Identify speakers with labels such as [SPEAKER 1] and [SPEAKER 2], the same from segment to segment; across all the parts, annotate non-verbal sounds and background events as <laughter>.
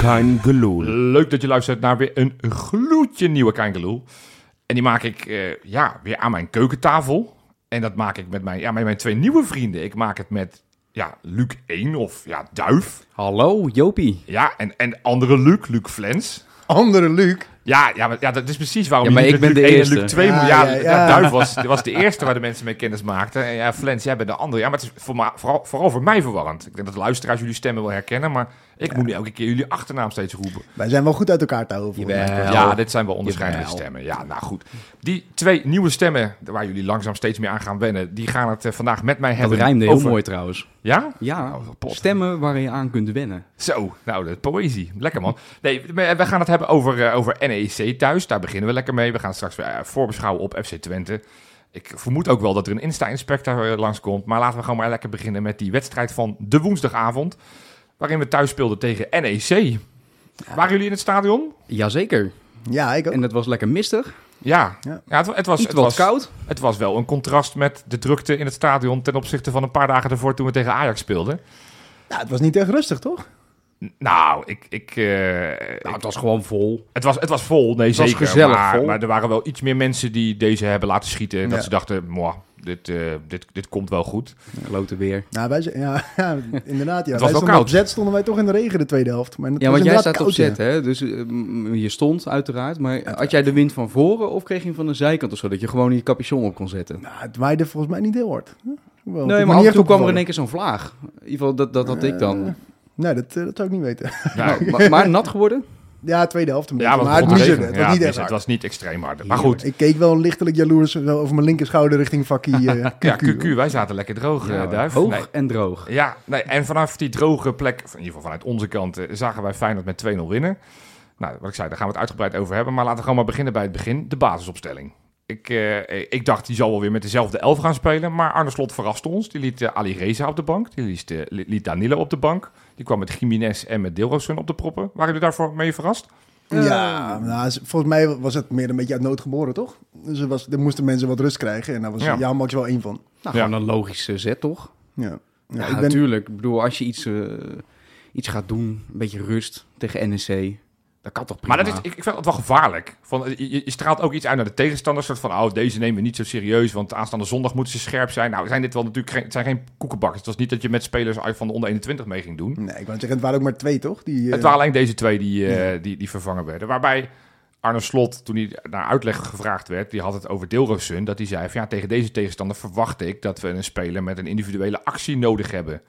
[SPEAKER 1] Kangeloel.
[SPEAKER 2] Leuk dat je luistert naar weer een gloedje nieuwe Kangeloel. En die maak ik eh, ja, weer aan mijn keukentafel. En dat maak ik met mijn, ja, met mijn twee nieuwe vrienden. Ik maak het met ja, Luc 1 of ja, Duif.
[SPEAKER 1] Hallo, Jopie.
[SPEAKER 2] Ja, en, en andere Luc, Luc Flens.
[SPEAKER 3] Andere Luc.
[SPEAKER 2] Ja, ja, maar, ja, dat is precies waarom
[SPEAKER 1] Ja, maar
[SPEAKER 2] je
[SPEAKER 1] ik
[SPEAKER 2] niet met
[SPEAKER 1] ben
[SPEAKER 2] Luc
[SPEAKER 1] de
[SPEAKER 2] 1 en Luc
[SPEAKER 1] eerste.
[SPEAKER 2] 2 moet.
[SPEAKER 3] Ja,
[SPEAKER 2] Ja,
[SPEAKER 3] ja,
[SPEAKER 2] ja,
[SPEAKER 3] ja.
[SPEAKER 2] Duif was, was de eerste waar de mensen mee kennis maakten. En ja, Flens, jij bent de andere. Ja, maar het is voor ma- vooral, vooral voor mij verwarrend. Ik denk dat de luisteraars jullie stemmen wel herkennen, maar ik moet nu elke keer jullie achternaam steeds roepen.
[SPEAKER 3] Wij zijn wel goed uit elkaar te houden. volgens mij.
[SPEAKER 1] Jawel.
[SPEAKER 2] Eh, Ja, dit zijn wel onderscheidende
[SPEAKER 1] Jawel.
[SPEAKER 2] stemmen. Ja, nou goed. Die twee nieuwe stemmen, waar jullie langzaam steeds meer aan gaan wennen, die gaan het eh, vandaag met mij
[SPEAKER 1] Dat
[SPEAKER 2] hebben.
[SPEAKER 1] rijmde heel
[SPEAKER 2] over-
[SPEAKER 1] mooi trouwens.
[SPEAKER 2] Ja?
[SPEAKER 1] Ja,
[SPEAKER 2] Oh, pot.
[SPEAKER 1] stemmen waar je aan kunt wennen.
[SPEAKER 2] Zo, nou, de poëzie. Lekker man. Nee, we we gaan het hebben over, eh, over NEC thuis. Daar beginnen we lekker mee. We gaan straks weer eh, voorbeschouwen op FC Twente. Ik vermoed ook wel dat er een Insta-inspector eh, langskomt. Maar laten we gewoon maar lekker beginnen met die wedstrijd van de woensdagavond. Waarin we thuis speelden tegen NEC. Waren jullie in het stadion?
[SPEAKER 1] Jazeker.
[SPEAKER 3] Ja, ik ook.
[SPEAKER 1] En het was lekker mistig.
[SPEAKER 2] Ja, ja.
[SPEAKER 3] Ja.
[SPEAKER 2] het, wa- het was,
[SPEAKER 1] Iets
[SPEAKER 2] het
[SPEAKER 1] wat
[SPEAKER 2] was
[SPEAKER 1] koud.
[SPEAKER 2] Het was wel een contrast met de drukte in het stadion ten opzichte van een paar dagen ervoor toen we tegen Ajax speelden.
[SPEAKER 3] Nou, het was niet echt rustig, toch?
[SPEAKER 2] N- Nou, ik, ik, eh, ik-
[SPEAKER 1] Nou, het was gewoon vol.
[SPEAKER 2] het, was, het was vol, nee
[SPEAKER 1] was
[SPEAKER 2] zeker.
[SPEAKER 1] gezellig
[SPEAKER 2] maar,
[SPEAKER 1] vol.
[SPEAKER 2] maar er waren wel iets meer mensen die deze hebben laten schieten. En dat
[SPEAKER 3] Ja.
[SPEAKER 2] ze dachten, "Mwah, dit, eh, dit, dit komt wel goed.
[SPEAKER 1] Klote weer.
[SPEAKER 3] Nou, wij, zijn- ja, <laughs> ja, inderdaad. Ja.
[SPEAKER 2] was
[SPEAKER 3] wij
[SPEAKER 2] wel
[SPEAKER 3] stonden
[SPEAKER 2] koud.
[SPEAKER 3] Op zet stonden wij toch in de regen de tweede helft. Maar het
[SPEAKER 1] Ja,
[SPEAKER 3] was
[SPEAKER 1] want jij
[SPEAKER 3] inderdaad
[SPEAKER 1] staat op
[SPEAKER 3] koud, ja.
[SPEAKER 1] zet, hè? Dus eh, m- je stond uiteraard. Maar had jij de wind van voren of kreeg je hem van de zijkant of zo? Dat je gewoon je capuchon op kon zetten?
[SPEAKER 3] Nou, het waaide volgens mij niet heel hard. Hoewel, het is
[SPEAKER 1] Nee,
[SPEAKER 3] me
[SPEAKER 1] maar
[SPEAKER 3] niet
[SPEAKER 1] af en
[SPEAKER 3] echt
[SPEAKER 1] toe kwam er in
[SPEAKER 3] opgevallen.
[SPEAKER 1] één keer zo'n vlaag. In ieder geval, dat, dat had ik dan.
[SPEAKER 3] Nee, dat, eh, dat zou ik niet weten. <laughs>
[SPEAKER 2] Nou,
[SPEAKER 1] Nou, maar, maar nat geworden?
[SPEAKER 3] Ja, tweede helft een beetje.
[SPEAKER 2] ja, want
[SPEAKER 3] maar
[SPEAKER 2] het
[SPEAKER 3] het
[SPEAKER 2] begon te
[SPEAKER 3] miezerde,
[SPEAKER 2] regenen.
[SPEAKER 3] Het was
[SPEAKER 2] Ja, dus
[SPEAKER 3] niet echt
[SPEAKER 2] het
[SPEAKER 3] hard.
[SPEAKER 2] was niet extreem hard. Maar goed,
[SPEAKER 3] Ik keek wel lichtelijk jaloers wel over mijn linkerschouder richting
[SPEAKER 2] <laughs>
[SPEAKER 3] vakkie. eh, QQ.
[SPEAKER 2] ja, QQ, wij zaten lekker droog, eh,
[SPEAKER 1] Ja,
[SPEAKER 2] Duif.
[SPEAKER 1] Nou, hoog
[SPEAKER 2] Nee.
[SPEAKER 1] en droog.
[SPEAKER 2] Ja, nee, en vanaf die droge plek, in ieder geval vanuit onze kant, eh, zagen wij Feyenoord met 2-0 winnen. Nou, wat ik zei, daar gaan we het uitgebreid over hebben. Maar laten we gewoon maar beginnen bij het begin, de basisopstelling. Ik, eh, ik dacht, die zal wel weer met dezelfde elf gaan spelen. Maar Arne Slot verraste ons. Die liet eh, Ali Reza op de bank. Die liet, eh, li- liet Danilo op de bank. Die kwam met Jiménez en met Dilrosun op de proppen. Waren jullie daarvoor mee verrast?
[SPEAKER 3] Ja, nou, ze- volgens mij was het meer een beetje uit nood geboren, toch? Dus er, was, er moesten mensen wat rust krijgen. En daar was
[SPEAKER 2] Ja.
[SPEAKER 3] ja. Max wel één van.
[SPEAKER 1] Nou,
[SPEAKER 2] Ja.
[SPEAKER 1] gewoon een logische zet, toch?
[SPEAKER 3] Ja, ja,
[SPEAKER 1] Ja,
[SPEAKER 3] ik ben,
[SPEAKER 1] natuurlijk. Ik bedoel, als je iets, eh, iets gaat doen, een beetje rust tegen NEC, dat kan toch prima.
[SPEAKER 2] Maar dat is, ik, ik vind dat wel gevaarlijk. Van, eh, je, je straalt ook iets uit naar de tegenstanders. Soort van, oh, deze nemen we niet zo serieus, want aanstaande zondag moeten ze scherp zijn. Nou, zijn dit wel natuurlijk geen, het zijn geen koekenbakkers. Het was niet dat je met spelers uit van de onder 21 mee ging doen.
[SPEAKER 3] nee, ik wou zeggen, het waren ook maar twee, toch? Die, eh,
[SPEAKER 2] Het waren alleen deze twee die, eh, die, die vervangen werden. Waarbij Arne Slot, toen hij naar uitleg gevraagd werd, die had het over Deelrosun. Dat hij zei van, ja, tegen deze tegenstander verwacht ik dat we een speler met een individuele actie nodig hebben.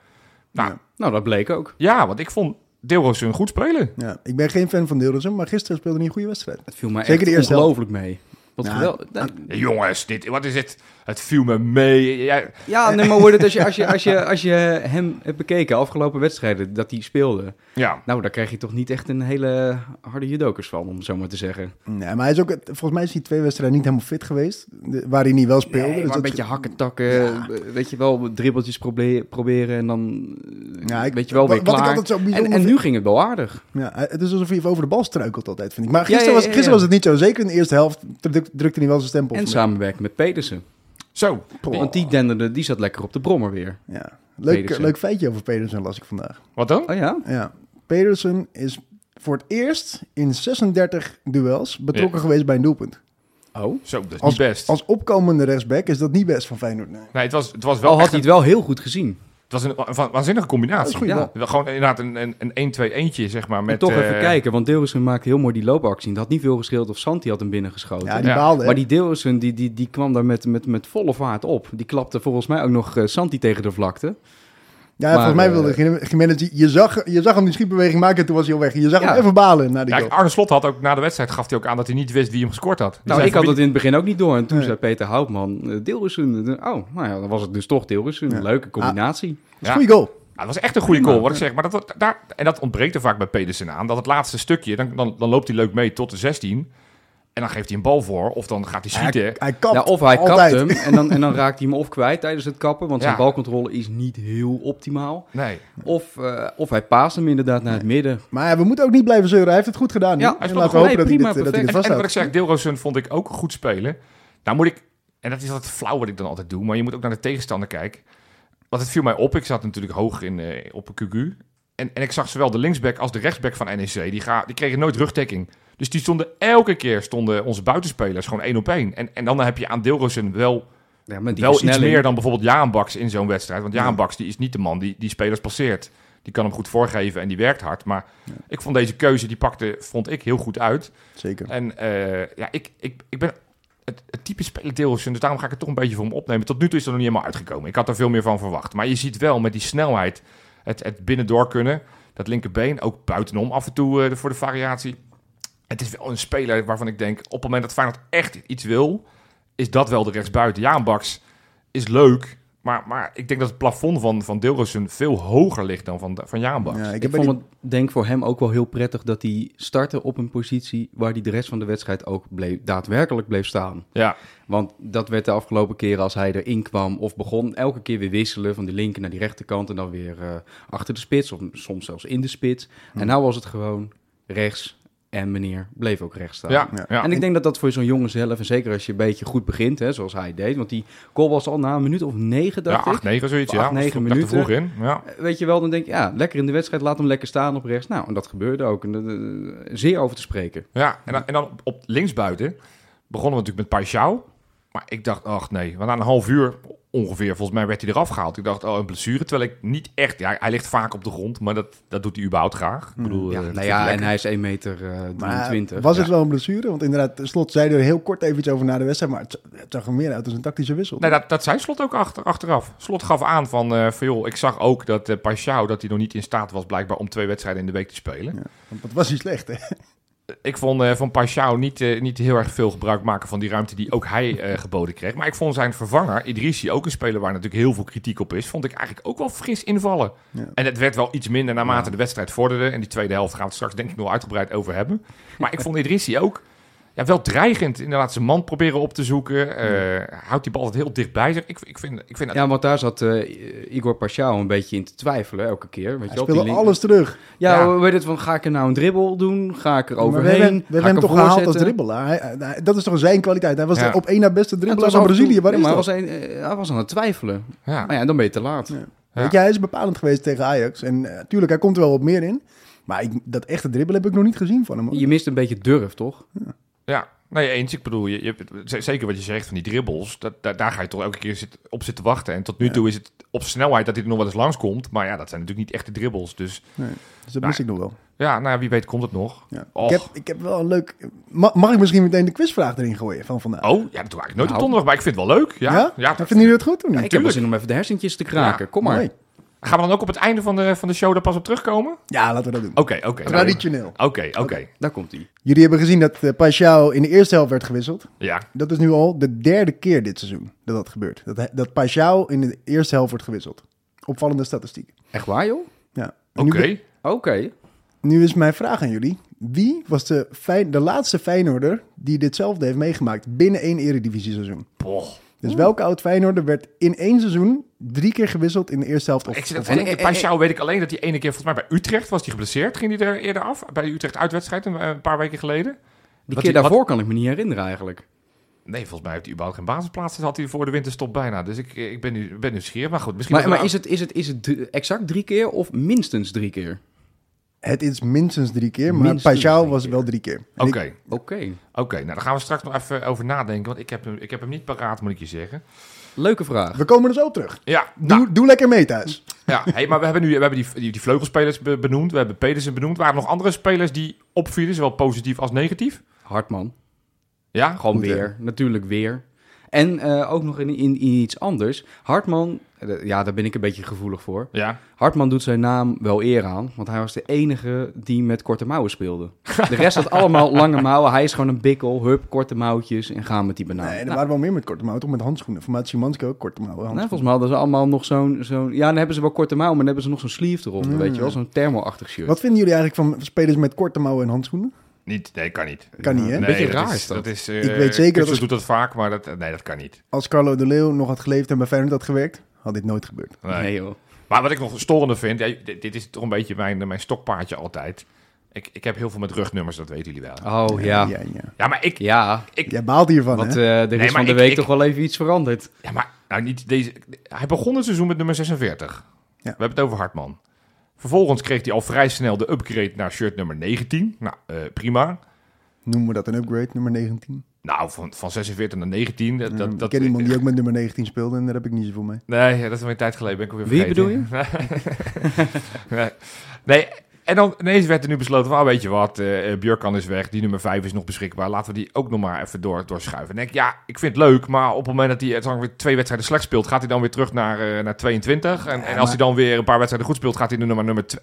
[SPEAKER 2] Nou, ja,
[SPEAKER 3] Ja.
[SPEAKER 1] Nou, dat bleek ook.
[SPEAKER 2] want ik vond Deelrosun goed spelen.
[SPEAKER 3] ja, ik ben geen fan van Deeldersen, maar gisteren speelde hij een goede wedstrijd.
[SPEAKER 1] Het viel mij
[SPEAKER 3] Zeker de
[SPEAKER 1] echt
[SPEAKER 3] eerste
[SPEAKER 1] ongelooflijk mee. Wat
[SPEAKER 3] Nou,
[SPEAKER 1] geweldig.
[SPEAKER 2] Ja, jongens, dit, wat is dit? Het viel me mee. Ja,
[SPEAKER 1] Ja,
[SPEAKER 2] <laughs>
[SPEAKER 1] nee, maar hoor dat als je, als, je, als, je, als je hem hebt bekeken, afgelopen wedstrijden, dat hij speelde.
[SPEAKER 2] ja.
[SPEAKER 1] Nou, daar krijg je toch niet echt een hele harde judokers van, om het zo maar te zeggen.
[SPEAKER 3] Nee, maar hij is ook, volgens mij is hij twee wedstrijden niet helemaal fit geweest, de- waar hij niet wel speelde.
[SPEAKER 1] Nee,
[SPEAKER 3] dus
[SPEAKER 1] maar een
[SPEAKER 3] dat-
[SPEAKER 1] beetje hakken, takken,
[SPEAKER 3] Ja.
[SPEAKER 1] eh, weet je wel, dribbeltjes proble- proberen en dan eh,
[SPEAKER 3] Ja, ik-
[SPEAKER 1] weet je wel
[SPEAKER 3] wa-
[SPEAKER 1] weer
[SPEAKER 3] wat ik
[SPEAKER 1] klaar.
[SPEAKER 3] altijd zo
[SPEAKER 1] en,
[SPEAKER 3] bijzonder
[SPEAKER 1] en nu
[SPEAKER 3] vind-
[SPEAKER 1] ging het wel aardig.
[SPEAKER 3] Ja, het is alsof hij even over de bal struikelt altijd, vind ik. Maar gisteren,
[SPEAKER 1] ja,
[SPEAKER 3] was,
[SPEAKER 1] ja, ja.
[SPEAKER 3] gisteren was het niet zo. Zeker in de eerste helft druk- drukte hij wel zijn stempel.
[SPEAKER 1] En
[SPEAKER 3] voor mij.
[SPEAKER 1] samenwerken met Pedersen.
[SPEAKER 2] Zo,
[SPEAKER 3] Poh.
[SPEAKER 1] Want die denderde, die zat lekker op de brommer weer.
[SPEAKER 3] Ja. Leuk,
[SPEAKER 1] Pedersen.
[SPEAKER 3] leuk feitje over Pedersen las ik vandaag.
[SPEAKER 2] wat dan?
[SPEAKER 1] Oh ja?
[SPEAKER 3] Ja, Pedersen is voor het eerst in 36 duels betrokken geweest bij een doelpunt.
[SPEAKER 1] Oh.
[SPEAKER 2] Zo, dat is
[SPEAKER 3] Als,
[SPEAKER 2] niet best.
[SPEAKER 3] als opkomende rechtsback is dat niet best van Feyenoord. Nee.
[SPEAKER 2] Nee, het was, het was wel
[SPEAKER 1] Al had
[SPEAKER 2] echt
[SPEAKER 1] hij
[SPEAKER 2] een,
[SPEAKER 1] het wel heel goed gezien.
[SPEAKER 2] het was een wa- wa- waanzinnige combinatie.
[SPEAKER 1] Ja.
[SPEAKER 2] Wel Gewoon inderdaad een, een, een 1-2 eentje, zeg maar. Met,
[SPEAKER 1] en toch even
[SPEAKER 2] eh,
[SPEAKER 1] kijken, want Deelrussen maakte heel mooi die loopactie. Dat had niet veel gescheeld of Santi had hem binnengeschoten.
[SPEAKER 3] Ja, die
[SPEAKER 2] Ja,
[SPEAKER 3] baalde. hè.
[SPEAKER 1] Maar die Deelsen die, die, die kwam daar met, met, met volle vaart op. Die klapte volgens mij ook nog eh, Santi tegen de vlakte.
[SPEAKER 3] ja,
[SPEAKER 1] maar,
[SPEAKER 3] volgens mij
[SPEAKER 1] eh,
[SPEAKER 3] wilde Jim- Jimenez... die- Je zag, je zag hem die schietbeweging maken en toen was hij al weg. Je zag
[SPEAKER 1] Ja.
[SPEAKER 3] hem even balen na die
[SPEAKER 2] Ja,
[SPEAKER 3] goal.
[SPEAKER 2] Arne Slot had ook na de wedstrijd gaf hij ook aan dat hij niet wist wie hem gescoord had. Dus Die
[SPEAKER 1] Nou,
[SPEAKER 2] zei
[SPEAKER 1] ik had
[SPEAKER 2] van
[SPEAKER 1] dat in het begin ook niet door. En toen
[SPEAKER 3] Nee.
[SPEAKER 1] zei Peter Houtman, eh, Deelrussen. eh, Oh, nou ja, dan was het dus toch Deelrussen.
[SPEAKER 3] Ja.
[SPEAKER 1] Leuke combinatie.
[SPEAKER 3] Dat is
[SPEAKER 2] Ja.
[SPEAKER 3] een goede goal.
[SPEAKER 2] Ja, dat was echt een goede goal, wat ik zeg. Maar dat, daar, en dat ontbreekt er vaak bij Pedersen aan. Dat het laatste stukje, dan, dan, dan loopt hij leuk mee tot de 16. En dan geeft hij een bal voor. Of dan gaat hij schieten.
[SPEAKER 3] Hij, hij kapt
[SPEAKER 1] Ja, of hij kapt
[SPEAKER 3] altijd.
[SPEAKER 1] hem en dan, en dan raakt hij hem of kwijt tijdens het kappen, want zijn
[SPEAKER 2] Ja.
[SPEAKER 1] balcontrole is niet heel optimaal.
[SPEAKER 2] Nee.
[SPEAKER 1] Of, eh, of hij paast hem inderdaad naar het midden.
[SPEAKER 3] Maar ja, we moeten ook niet blijven zeuren. Hij heeft het goed
[SPEAKER 1] Ja,
[SPEAKER 3] gedaan. hè?
[SPEAKER 1] hij
[SPEAKER 3] En
[SPEAKER 2] speelde
[SPEAKER 3] laten we
[SPEAKER 1] gewoon-
[SPEAKER 3] hopen dat,
[SPEAKER 1] nee,
[SPEAKER 3] hij
[SPEAKER 1] prima,
[SPEAKER 3] dit, dat hij
[SPEAKER 1] perfect.
[SPEAKER 3] het
[SPEAKER 2] En, en wat ik
[SPEAKER 3] vasthoudt.
[SPEAKER 2] zeg, Deelrozen vond ik ook goed spelen. Nou moet ik, en dat is altijd flauw wat ik dan altijd doe, maar je moet ook naar de tegenstander kijken. Want het viel mij op, ik zat natuurlijk hoog in, eh, op een QQ. En, en ik zag zowel de linksback als de rechtsback van NEC, die, ga, die kregen nooit rugdekking. Dus die stonden elke keer, stonden onze buitenspelers gewoon één op één. En, en dan heb je aan Deelrozen wel,
[SPEAKER 1] Ja, met die
[SPEAKER 2] wel iets
[SPEAKER 1] versnelling.
[SPEAKER 2] meer dan bijvoorbeeld Jaan Baks in zo'n wedstrijd. Want Jaan Baks die is niet de man die, die spelers passeert. Die kan hem goed voorgeven en die werkt hard. Maar ik vond deze keuze, die pakte, vond ik, heel goed uit.
[SPEAKER 3] Zeker.
[SPEAKER 2] En eh, ja, ik, ik, ik ben het, het type spelerdeelsen, dus daarom ga ik het toch een beetje voor hem opnemen. Tot nu toe is er nog niet helemaal uitgekomen. Ik had er veel meer van verwacht. Maar je ziet wel met die snelheid, het, het binnendoor kunnen, dat linkerbeen, ook buitenom af en toe eh, voor de variatie. Het is wel een speler waarvan ik denk, op het moment dat Feyenoord echt iets wil, is dat wel de rechtsbuiten. Ja, een Baks is leuk, maar, maar ik denk dat het plafond van, van Deelrosen veel hoger ligt dan van, van Jaan Baks.
[SPEAKER 3] Ja, ik
[SPEAKER 1] Ik
[SPEAKER 3] heb bij die-
[SPEAKER 1] vond het denk voor hem ook wel heel prettig dat hij startte op een positie waar hij de rest van de wedstrijd ook bleef, daadwerkelijk bleef staan.
[SPEAKER 2] Ja,
[SPEAKER 1] Want dat werd de afgelopen keren als hij erin kwam of begon, elke keer weer wisselen van die linker naar die rechterkant en dan weer eh, achter de spits of soms zelfs in de spits.
[SPEAKER 2] Hm.
[SPEAKER 1] En nou was het gewoon rechts en meneer bleef ook rechts staan.
[SPEAKER 2] ja,
[SPEAKER 3] Ja.
[SPEAKER 2] ja.
[SPEAKER 1] En ik denk dat dat voor zo'n jongen zelf, en zeker als je een beetje goed begint, hè, zoals hij deed, want die goal was al na een minuut of negen,
[SPEAKER 2] Ja,
[SPEAKER 1] dacht ik.
[SPEAKER 2] 8, 9, zoiets.
[SPEAKER 1] Acht,
[SPEAKER 2] ja,
[SPEAKER 1] negen
[SPEAKER 2] Ik dacht er
[SPEAKER 1] minuten.
[SPEAKER 2] vroeg in. Ja.
[SPEAKER 1] Weet je wel, dan denk je, ja, lekker in de wedstrijd, laat hem lekker staan op rechts. Nou, en dat gebeurde ook. En, eh, zeer over te spreken.
[SPEAKER 2] Ja, en dan, en dan op, op linksbuiten begonnen we natuurlijk met Paixão. Maar ik dacht, ach nee, want na een half uur ongeveer, volgens mij werd hij eraf gehaald. Ik dacht, oh, een blessure. Terwijl ik niet echt, ja, hij ligt vaak op de grond, maar dat, dat doet hij überhaupt graag. Ik bedoel,
[SPEAKER 1] Ja,
[SPEAKER 2] eh,
[SPEAKER 1] nou
[SPEAKER 2] dat vind ik
[SPEAKER 1] ja, en
[SPEAKER 2] lekker.
[SPEAKER 1] hij is 1 meter eh, 23.
[SPEAKER 3] Maar was
[SPEAKER 1] Ja.
[SPEAKER 3] het wel een blessure? Want inderdaad, slot zei er heel kort even iets over na de wedstrijd. Maar het, het zag er meer uit als een tactische wissel.
[SPEAKER 2] Nee, dat, dat zei Slot ook achter, achteraf. Slot gaf aan van, eh, van joh, ik zag ook dat eh Paixão, dat hij nog niet in staat was blijkbaar om twee wedstrijden in de week te spelen.
[SPEAKER 3] Want dat was niet slecht, hè?
[SPEAKER 2] Ik vond eh, van Paschao niet, eh, niet heel erg veel gebruik maken van die ruimte die ook hij eh, <laughs> geboden kreeg. Maar ik vond zijn vervanger, Idrissi, ook een speler waar natuurlijk heel veel kritiek op is, vond ik eigenlijk ook wel fris invallen.
[SPEAKER 3] Ja.
[SPEAKER 2] En het werd wel iets minder naarmate de wedstrijd vorderde. En die tweede helft gaan we het straks denk ik nog uitgebreid over hebben. Maar ik vond Idrissi ook ja, wel dreigend. Inderdaad, zijn man proberen op te zoeken. eh, houdt die bal altijd heel dichtbij zich. Ik, ik vind, ik vind
[SPEAKER 1] Ja, want daar zat eh, Igor Paschal een beetje in te twijfelen elke keer. Weet
[SPEAKER 3] Hij
[SPEAKER 1] je wel, die
[SPEAKER 3] speelde
[SPEAKER 1] link-
[SPEAKER 3] alles terug.
[SPEAKER 1] Ja,
[SPEAKER 2] Ja.
[SPEAKER 1] hoe weet het van, ga ik er nou een dribbel doen? Ga ik er
[SPEAKER 3] Maar we hebben,
[SPEAKER 1] overheen?
[SPEAKER 3] we hebben hem toch gehaald als dribbelaar. Hij- hij- hij- dat is toch zijn kwaliteit? Hij was
[SPEAKER 2] Ja.
[SPEAKER 3] de op één na beste dribbelaar van Brazilië. Waar
[SPEAKER 1] Waarom?
[SPEAKER 3] is
[SPEAKER 1] maar hij
[SPEAKER 3] dat?
[SPEAKER 1] was, een, eh, hij was aan het twijfelen.
[SPEAKER 2] ja.
[SPEAKER 1] Maar ja, dan ben je te laat.
[SPEAKER 2] Ja.
[SPEAKER 3] Weet je, hij is bepalend geweest tegen Ajax. En natuurlijk, tuurlijk, hij komt er wel wat meer in. Maar ik, dat echte dribbel heb ik nog niet gezien van hem. hoor.
[SPEAKER 1] Je mist een beetje durf, toch?
[SPEAKER 2] Ja, nee, eens. Ik bedoel, je, je, hebt- z- zeker wat je zegt van die dribbles, dat, daar- daar ga je toch elke keer zit, op zitten wachten. En tot nu toe is het op snelheid dat hij er nog wel eens langskomt. Maar ja, dat zijn natuurlijk niet echte dribbles. Dus
[SPEAKER 3] Dus dat mis ik nog wel.
[SPEAKER 2] ja, nou ja, wie weet komt het nog.
[SPEAKER 3] Ja.
[SPEAKER 2] Och.
[SPEAKER 3] Ik, heb, ik heb wel een leuk... Ma- mag ik misschien meteen de quizvraag erin gooien van vandaag?
[SPEAKER 2] Oh, ja, dat doe ik eigenlijk nooit
[SPEAKER 1] Nou.
[SPEAKER 2] op donderdag, maar ik vind het wel leuk. Ja, ja? dat-
[SPEAKER 3] Vinden jullie het goed of niet?
[SPEAKER 1] ik heb wel zin om even de hersentjes te kraken.
[SPEAKER 2] Ja,
[SPEAKER 1] Kom maar.
[SPEAKER 3] Mooi.
[SPEAKER 2] Gaan we dan ook op het einde van de, van de show daar pas op terugkomen? Oké,
[SPEAKER 3] Ja, laten we dat doen.
[SPEAKER 2] oké. Nou, Oké,
[SPEAKER 3] Traditioneel.
[SPEAKER 2] oké.
[SPEAKER 1] Daar komt hij.
[SPEAKER 3] Jullie hebben gezien dat eh Paixão in de eerste helft werd gewisseld.
[SPEAKER 2] Ja,
[SPEAKER 3] Dat is nu al de derde keer dit seizoen dat dat gebeurt. Dat, hij- dat Paixão in de eerste helft wordt gewisseld. Opvallende statistiek.
[SPEAKER 1] Echt waar, joh?
[SPEAKER 3] Ja. En
[SPEAKER 2] oké.
[SPEAKER 3] nu be-
[SPEAKER 1] Oké.
[SPEAKER 3] Nu is mijn vraag aan jullie. Wie was de, Fijn- de laatste Feyenoorder die ditzelfde heeft meegemaakt binnen één eredivisie seizoen?
[SPEAKER 2] Boah.
[SPEAKER 3] Dus welke oud Feyenoorder werd in één seizoen drie keer gewisseld in de eerste helft? Of,
[SPEAKER 2] Ik zit
[SPEAKER 3] of-
[SPEAKER 2] dat te denken, Paschal weet ik alleen dat die ene keer, volgens mij bij Utrecht was hij geblesseerd. Ging hij er eerder af? Bij de Utrecht uitwedstrijd een, een paar weken geleden.
[SPEAKER 1] Die
[SPEAKER 2] Wat
[SPEAKER 1] keer
[SPEAKER 2] die- wat-
[SPEAKER 1] daarvoor kan ik me niet herinneren eigenlijk.
[SPEAKER 2] Nee, volgens mij heeft hij überhaupt geen basisplaats. Dat had hij voor de winterstop bijna. Dus ik, ik ben, nu, ben nieuwsgierig. Maar goed, misschien...
[SPEAKER 1] Maar,
[SPEAKER 2] dat
[SPEAKER 1] maar
[SPEAKER 2] we-
[SPEAKER 1] is, het, is, het, is het dr- exact drie keer of minstens drie keer?
[SPEAKER 3] Het is minstens drie keer, maar
[SPEAKER 1] Minstens
[SPEAKER 3] Paschal
[SPEAKER 1] drie
[SPEAKER 3] was
[SPEAKER 1] keer.
[SPEAKER 3] wel drie keer. En
[SPEAKER 2] Oké,
[SPEAKER 3] ik-
[SPEAKER 2] oké.
[SPEAKER 1] Oké.
[SPEAKER 2] nou, daar gaan we straks nog even over nadenken. Want ik heb, hem- ik heb hem niet paraat, moet ik je zeggen.
[SPEAKER 1] Leuke vraag.
[SPEAKER 3] We komen er zo op terug.
[SPEAKER 2] Ja, nou,
[SPEAKER 3] Doe, doe lekker mee thuis.
[SPEAKER 2] ja. Hey, maar we hebben nu we hebben die, die, die vleugelspelers be- benoemd. We hebben Pedersen benoemd. Waren er nog andere spelers die opvielen, zowel positief als negatief?
[SPEAKER 1] Hartman.
[SPEAKER 2] Ja,
[SPEAKER 1] Gewoon
[SPEAKER 3] Goed, hè?
[SPEAKER 1] weer. Natuurlijk weer. En eh, ook nog in, in, in iets anders. Hartman eh, eh, ja, daar ben ik een beetje gevoelig voor.
[SPEAKER 2] Ja.
[SPEAKER 1] Hartman doet zijn naam wel eer aan, want hij was de enige die met korte mouwen speelde. De rest had
[SPEAKER 3] <laughs>
[SPEAKER 1] allemaal lange mouwen. Hij is gewoon een bikkel, hup, korte mouwtjes en gaan met die banaan.
[SPEAKER 3] nee, er
[SPEAKER 1] Nou,
[SPEAKER 3] waren wel meer met korte mouwen, toch met handschoenen. Van Maat Szymanski ook korte mouwen.
[SPEAKER 1] nou, volgens
[SPEAKER 3] handschoenen.
[SPEAKER 1] mij hadden ze allemaal nog zo'n... zo'n ja, dan hebben ze wel korte mouwen, maar dan hebben ze nog zo'n sleeve eronder,
[SPEAKER 3] Mm.
[SPEAKER 1] weet je wel? Zo'n thermo-achtig shirt.
[SPEAKER 3] Wat vinden jullie eigenlijk van spelers met korte mouwen en handschoenen?
[SPEAKER 2] Niet, nee, kan niet.
[SPEAKER 3] Kan niet, hè?
[SPEAKER 2] Nee,
[SPEAKER 1] Beetje
[SPEAKER 2] dat
[SPEAKER 1] raar
[SPEAKER 2] is,
[SPEAKER 1] is dat.
[SPEAKER 2] is,
[SPEAKER 3] Ik weet zeker dat
[SPEAKER 2] dat...
[SPEAKER 3] als-
[SPEAKER 2] doet dat vaak, maar dat, nee, dat kan niet.
[SPEAKER 3] Als Carlo de Leeuw nog had geleefd en bij Feyenoord had gewerkt, had dit nooit gebeurd.
[SPEAKER 2] Nee.
[SPEAKER 1] Nee, joh.
[SPEAKER 2] Maar wat ik nog storende vind, ja, dit, dit is toch een beetje mijn, mijn stokpaardje altijd. Ik, ik heb heel veel met rugnummers, dat weten jullie wel.
[SPEAKER 1] Oh, ja.
[SPEAKER 3] ja, ja.
[SPEAKER 2] Ja, maar ik...
[SPEAKER 1] Ja,
[SPEAKER 3] Jij baalt hiervan,
[SPEAKER 1] want
[SPEAKER 3] hè?
[SPEAKER 1] eh, er is
[SPEAKER 2] maar
[SPEAKER 1] van de
[SPEAKER 2] ik-
[SPEAKER 1] week
[SPEAKER 2] ik-
[SPEAKER 1] toch wel even iets veranderd.
[SPEAKER 2] Ja, maar nou, niet deze... Hij begon het seizoen met nummer 46. We hebben het over Hartman. Vervolgens kreeg hij al vrij snel de upgrade naar shirt nummer 19. Nou, eh, prima.
[SPEAKER 3] Noemen we dat een upgrade, nummer 19?
[SPEAKER 2] Nou, van, van 46 naar 19. Dat, dat,
[SPEAKER 3] Mm, ik
[SPEAKER 2] dat,
[SPEAKER 3] ken iemand die ook met nummer 19 speelde en daar heb ik niet zoveel mee.
[SPEAKER 2] Nee, ja, dat is alweer een tijd geleden. Ben ik alweer
[SPEAKER 1] Wie
[SPEAKER 2] vergeten. <laughs> nee. nee, en dan ineens werd er nu besloten van, ah, weet je wat, eh eh, Björkan is weg. Die nummer 5 is nog beschikbaar. Laten we die ook nog maar even door, doorschuiven. En ik denk, ja, ik vind het leuk. Maar op het moment dat hij het dan weer twee wedstrijden slecht speelt... gaat hij dan weer terug naar, eh, naar 22. En, en als hij dan weer een paar wedstrijden goed speelt... gaat hij nu naar nummer 2.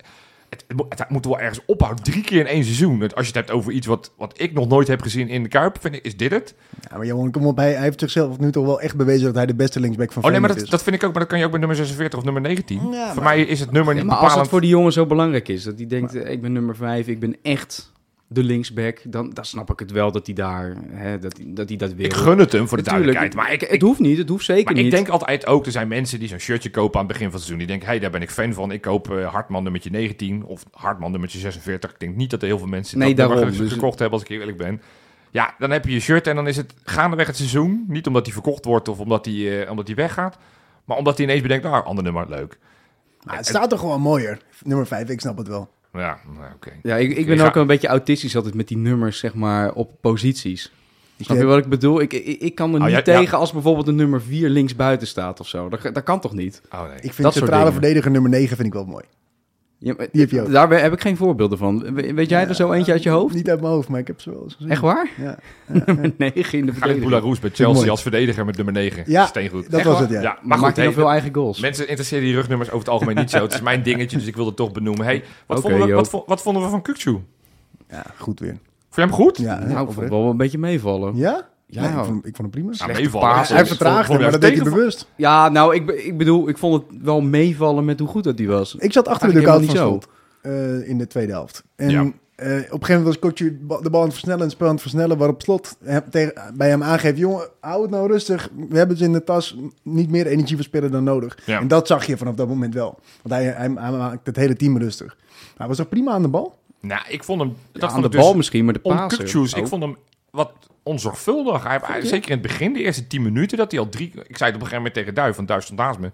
[SPEAKER 2] Het, het, mo- het moet wel ergens ophouden. Drie keer in één seizoen. Het- Als je het hebt over iets wat, wat ik nog nooit heb gezien in de Kuip... Vind ik, is dit het?
[SPEAKER 3] Ja, maar Johan, kom op, hij, hij heeft zichzelf nu toch wel echt bewezen dat hij de beste linksback van
[SPEAKER 2] Oh nee, maar
[SPEAKER 3] Feyenoord
[SPEAKER 2] dat, dat vind ik ook. Maar dat kan je ook bij nummer 46 of nummer 19.
[SPEAKER 3] Ja,
[SPEAKER 2] Voor
[SPEAKER 3] maar-
[SPEAKER 2] mij is het nummer
[SPEAKER 1] Ja,
[SPEAKER 2] niet
[SPEAKER 1] maar als het
[SPEAKER 2] bepalend.
[SPEAKER 1] voor die jongen zo belangrijk is, dat hij denkt, eh, ik ben nummer vijf, ik ben echt de linksback, dan, dan snap ik het wel dat hij daar, hè, dat, hij- dat hij dat wil.
[SPEAKER 2] Ik gun het hem voor de
[SPEAKER 1] Natuurlijk,
[SPEAKER 2] duidelijkheid. Maar ik,
[SPEAKER 1] het hoeft niet, het hoeft zeker
[SPEAKER 2] maar ik
[SPEAKER 1] niet.
[SPEAKER 2] denk altijd ook, er zijn mensen die zo'n shirtje kopen aan het begin van het seizoen. Die denken, hé, hey, daar ben ik fan van. Ik koop eh, Hartman nummertje 19 of Hartman nummertje 46. Ik denk niet dat er heel veel mensen
[SPEAKER 1] Nee,
[SPEAKER 2] dat nummer
[SPEAKER 1] daarom.
[SPEAKER 2] ge-
[SPEAKER 1] Dus-
[SPEAKER 2] gekocht hebben, als ik eerlijk ben. Ja, dan heb je je shirt en dan is het gaandeweg het seizoen. Niet omdat hij verkocht wordt of omdat hij, eh, omdat hij weggaat. Maar omdat hij ineens bedenkt, nou, ander nummer, leuk.
[SPEAKER 3] Maar het staat toch gewoon mooier. Nummer 5, ik snap het wel.
[SPEAKER 2] Ja, nou, oké.
[SPEAKER 1] ja, ik, ik ben
[SPEAKER 2] ga-
[SPEAKER 1] ook een beetje autistisch altijd met die nummers, zeg maar, op posities. Snap je
[SPEAKER 3] heb-
[SPEAKER 1] wat ik bedoel? Ik, ik, ik kan er
[SPEAKER 2] Oh,
[SPEAKER 1] niet
[SPEAKER 2] ja, ja.
[SPEAKER 1] tegen als bijvoorbeeld de nummer 4 links buiten staat of zo. Dat, dat kan toch niet?
[SPEAKER 2] Oh nee.
[SPEAKER 3] Ik vind
[SPEAKER 1] soort
[SPEAKER 3] centrale
[SPEAKER 1] dingen.
[SPEAKER 3] verdediger nummer 9 vind ik wel mooi.
[SPEAKER 1] Ja, maar
[SPEAKER 3] Die heb je ook.
[SPEAKER 1] Daar heb ik geen voorbeelden van. We- Weet jij er zo eentje uit je hoofd?
[SPEAKER 3] Niet uit mijn hoofd, maar ik heb ze wel eens gezien.
[SPEAKER 1] Echt
[SPEAKER 2] Hmm.
[SPEAKER 1] waar? <laughs>
[SPEAKER 3] Ja,
[SPEAKER 1] nee, geen de
[SPEAKER 2] Gary
[SPEAKER 1] verdediging.
[SPEAKER 2] Boularoes bij Chelsea
[SPEAKER 3] Mooi.
[SPEAKER 2] als verdediger met nummer 9.
[SPEAKER 3] ja
[SPEAKER 2] Steengoed.
[SPEAKER 3] dat
[SPEAKER 1] Echt
[SPEAKER 3] was
[SPEAKER 1] waar?
[SPEAKER 3] het, ja.
[SPEAKER 2] Ja, maar
[SPEAKER 1] Maar
[SPEAKER 2] goed,
[SPEAKER 1] maakt hij nog
[SPEAKER 2] hey,
[SPEAKER 1] veel eigen goals?
[SPEAKER 2] Mensen interesseren die rugnummers over het algemeen niet zo. Het is mijn dingetje, dus ik wilde het toch benoemen. Hey, wat,
[SPEAKER 1] Oké,
[SPEAKER 2] vonden we,
[SPEAKER 1] joh.
[SPEAKER 2] wat, vo- wat vonden we van Kukchu? Vond
[SPEAKER 3] Ja, goed weer.
[SPEAKER 2] je hem goed?
[SPEAKER 3] Ja, hè,
[SPEAKER 1] Nou, ik vond het
[SPEAKER 3] oprecht.
[SPEAKER 1] wel een beetje meevallen.
[SPEAKER 3] ja?
[SPEAKER 1] Ja.
[SPEAKER 3] Nee, ik, vond, ik vond hem prima.
[SPEAKER 2] Nou,
[SPEAKER 1] Slechte
[SPEAKER 2] meevallen.
[SPEAKER 1] paas.
[SPEAKER 3] hij heeft
[SPEAKER 1] Hij
[SPEAKER 3] vertraagd,
[SPEAKER 2] Vond
[SPEAKER 3] hem,
[SPEAKER 2] je
[SPEAKER 3] maar
[SPEAKER 2] hem
[SPEAKER 3] dat deed
[SPEAKER 2] tegenval-
[SPEAKER 3] hij bewust.
[SPEAKER 1] Ja, nou, ik, be- ik bedoel, ik vond het wel meevallen met hoe goed dat die was.
[SPEAKER 3] Ik zat achter de
[SPEAKER 1] Eigenlijk
[SPEAKER 3] dugout van
[SPEAKER 1] helemaal niet
[SPEAKER 3] Slot eh, in de tweede helft. En
[SPEAKER 2] Ja.
[SPEAKER 3] eh, op een gegeven moment was Kotje de bal aan het versnellen en het spel aan het versnellen. Waarop Slot hem tegen, bij hem aangeeft, jongen, hou het nou rustig. We hebben het in de tas, niet meer energie verspillen dan nodig.
[SPEAKER 2] Ja.
[SPEAKER 3] En dat zag je vanaf dat moment wel. Want hij, hij, hij maakt het hele team rustig. Maar hij was toch prima aan de bal?
[SPEAKER 2] Nou, ik vond hem... Dat
[SPEAKER 1] Ja, aan
[SPEAKER 2] vond
[SPEAKER 1] de
[SPEAKER 2] ik
[SPEAKER 1] bal
[SPEAKER 2] dus
[SPEAKER 1] misschien, maar de Oh.
[SPEAKER 2] om
[SPEAKER 1] paas.
[SPEAKER 2] Kukchu's. Ik vond hem wat onzorgvuldig. Hij, hij- zeker in het begin, de eerste 10 minuten, dat hij al drie... Ik zei het op een gegeven moment tegen Duif, want Duif stond naast me.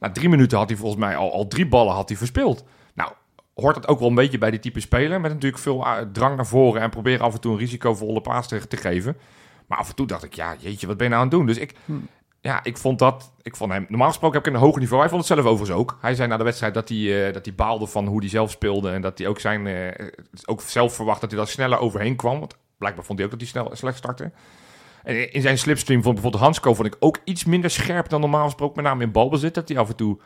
[SPEAKER 2] Na drie minuten had hij volgens mij al, al drie ballen had hij verspeeld. Nou, hoort dat ook wel een beetje bij die type speler. Met natuurlijk veel eh, drang naar voren en proberen af en toe een risicovolle paas te, te geven. Maar af en toe dacht ik, ja, jeetje, wat ben je nou aan het doen? Dus ik, ja, ik vond dat, ik vond hem, normaal gesproken heb ik een hoger niveau. Hij vond het zelf overigens ook. Hij zei na de wedstrijd dat hij, eh, dat hij baalde van hoe hij zelf speelde. En dat hij ook, zijn, eh, ook zelf verwacht dat hij daar sneller overheen kwam. Want blijkbaar vond hij ook dat hij snel slecht startte. En in zijn slipstream vond ik bijvoorbeeld Hansco vond ik ook iets minder scherp dan normaal gesproken. Met name in balbezit, dat hij af en toe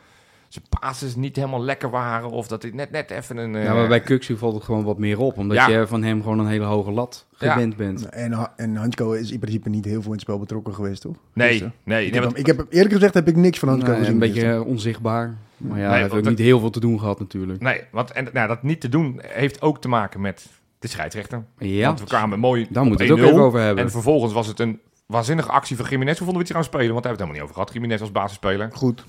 [SPEAKER 2] zijn passes niet helemaal lekker waren. Of dat hij net, net even een... eh,
[SPEAKER 1] Ja, maar bij Kuksu valt het gewoon wat meer op, omdat
[SPEAKER 2] Ja.
[SPEAKER 1] je van hem gewoon een hele hoge lat
[SPEAKER 2] Ja.
[SPEAKER 1] gewend bent.
[SPEAKER 3] En, Ha- en Hansko is in principe niet heel veel in het spel betrokken geweest, toch?
[SPEAKER 2] nee,
[SPEAKER 3] Dus, eh,
[SPEAKER 2] nee,
[SPEAKER 3] ik,
[SPEAKER 2] nee,
[SPEAKER 3] heb,
[SPEAKER 2] want-
[SPEAKER 3] hem- ik heb eerlijk gezegd heb ik niks van Hansko
[SPEAKER 1] Nou,
[SPEAKER 3] gezien.
[SPEAKER 1] een beetje eh, onzichtbaar. Maar ja, hij heeft
[SPEAKER 2] want
[SPEAKER 1] ook
[SPEAKER 2] dat-
[SPEAKER 1] niet heel veel te doen gehad natuurlijk.
[SPEAKER 2] Nee, want en, nou, dat niet te doen heeft ook te maken met de scheidsrechter.
[SPEAKER 1] Ja,
[SPEAKER 2] Want we kwamen mooi
[SPEAKER 1] daar
[SPEAKER 2] op
[SPEAKER 1] moeten we het
[SPEAKER 2] 1-0.
[SPEAKER 1] ook even over hebben.
[SPEAKER 2] En vervolgens was het een waanzinnige actie van Jiménez. Hoe vonden we het gaan spelen? Want daar hebben we het helemaal niet over gehad. Jiménez als
[SPEAKER 1] <laughs>
[SPEAKER 2] basisspeler.
[SPEAKER 3] Goed.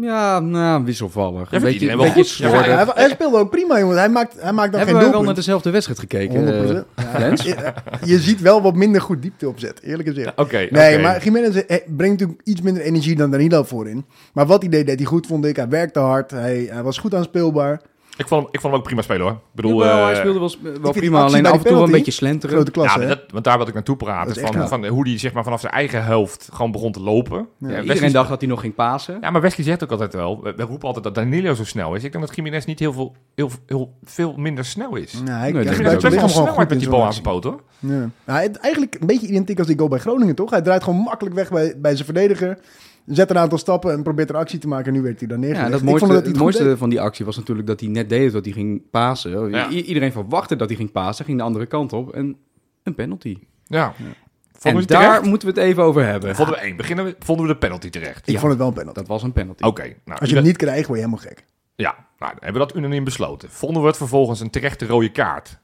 [SPEAKER 1] ja nou, wisselvallig.
[SPEAKER 2] vindt
[SPEAKER 1] Een beetje,
[SPEAKER 2] iedereen
[SPEAKER 1] een
[SPEAKER 2] wel
[SPEAKER 1] beetje
[SPEAKER 2] goed? Ja,
[SPEAKER 1] slordig.
[SPEAKER 3] Ja, hij, hij speelde ook prima, jongen. Hij maakt, hij maakt dan
[SPEAKER 1] Hebben we wel
[SPEAKER 3] geen
[SPEAKER 1] naar
[SPEAKER 3] doelpunt.
[SPEAKER 1] dezelfde wedstrijd gekeken,
[SPEAKER 3] 100%.
[SPEAKER 1] eh, Lens?
[SPEAKER 3] Je, je ziet wel wat minder goed diepte opzet, eerlijk gezegd.
[SPEAKER 2] Oké,
[SPEAKER 3] Nee,
[SPEAKER 2] oké.
[SPEAKER 3] maar Jiménez eh, brengt natuurlijk iets minder energie dan Danilo voorin. Maar wat hij deed, deed hij goed, vond ik. Hij werkte hard, hij, hij was goed aanspeelbaar.
[SPEAKER 2] Ik, vond hem, ik vond hem ook prima spelen hoor. Ik bedoel,
[SPEAKER 1] Jawel, hij
[SPEAKER 2] eh,
[SPEAKER 1] speelde wel, wel
[SPEAKER 3] die
[SPEAKER 1] prima,
[SPEAKER 3] actie
[SPEAKER 1] alleen
[SPEAKER 3] bij
[SPEAKER 1] af
[SPEAKER 3] de
[SPEAKER 1] en toe wel een
[SPEAKER 3] penalty,
[SPEAKER 1] beetje slenteren.
[SPEAKER 3] Grote
[SPEAKER 2] ja,
[SPEAKER 3] klasse, hè?
[SPEAKER 2] maar dat, want daar wilde ik naartoe
[SPEAKER 3] Dat
[SPEAKER 2] praten.
[SPEAKER 3] is echt
[SPEAKER 2] Van,
[SPEAKER 3] knap.
[SPEAKER 2] van hoe die zeg maar, vanaf zijn eigen helft gewoon begon te lopen. Ja, Wesley-
[SPEAKER 1] Iedereen dacht dat hij nog ging pasen.
[SPEAKER 2] ja, maar Wesley zegt ook altijd wel. We, we roepen altijd dat Danilo zo snel is. Ik denk dat Jiménez niet heel veel, heel, heel veel minder snel is.
[SPEAKER 3] Nou,
[SPEAKER 1] Nee,
[SPEAKER 3] hij,
[SPEAKER 1] dat
[SPEAKER 3] hij
[SPEAKER 1] is
[SPEAKER 2] Jiménez heeft
[SPEAKER 3] gebruikt
[SPEAKER 2] best wel
[SPEAKER 3] zijn lichaam
[SPEAKER 2] snelheid
[SPEAKER 3] gewoon goed
[SPEAKER 2] met
[SPEAKER 3] in
[SPEAKER 2] die
[SPEAKER 3] zo'n
[SPEAKER 2] bal aan
[SPEAKER 3] actie.
[SPEAKER 2] zijn poot hoor.
[SPEAKER 3] Ja. Nou, het- eigenlijk een beetje identiek als die goal bij Groningen, toch? Hij draait gewoon makkelijk weg bij, bij zijn verdediger. Zet een aantal stappen en probeert er actie te maken. En nu werd hij dan neergelegd.
[SPEAKER 1] Ja, dat
[SPEAKER 3] Ik
[SPEAKER 1] mooiste,
[SPEAKER 3] vond hij
[SPEAKER 1] het
[SPEAKER 3] goed
[SPEAKER 1] mooiste
[SPEAKER 3] deed.
[SPEAKER 1] van die actie was natuurlijk dat hij net deed dat hij ging pasen.
[SPEAKER 2] Ja.
[SPEAKER 1] I- iedereen verwachtte dat hij ging pasen, ging de andere kant op en een penalty.
[SPEAKER 2] Ja.
[SPEAKER 1] en
[SPEAKER 2] Vonden we
[SPEAKER 1] daar
[SPEAKER 2] daar... terecht?
[SPEAKER 1] moeten we het even over hebben.
[SPEAKER 2] Vonden we één. Beginnen we, vonden we de penalty terecht?
[SPEAKER 3] Ik
[SPEAKER 1] Ja.
[SPEAKER 3] vond het wel een penalty.
[SPEAKER 1] Dat was een penalty.
[SPEAKER 2] Oké. nou,
[SPEAKER 3] Als je hem niet krijgt, word je helemaal gek.
[SPEAKER 2] Ja, nou, dan hebben we dat unaniem besloten. Vonden we het vervolgens een terechte rode kaart?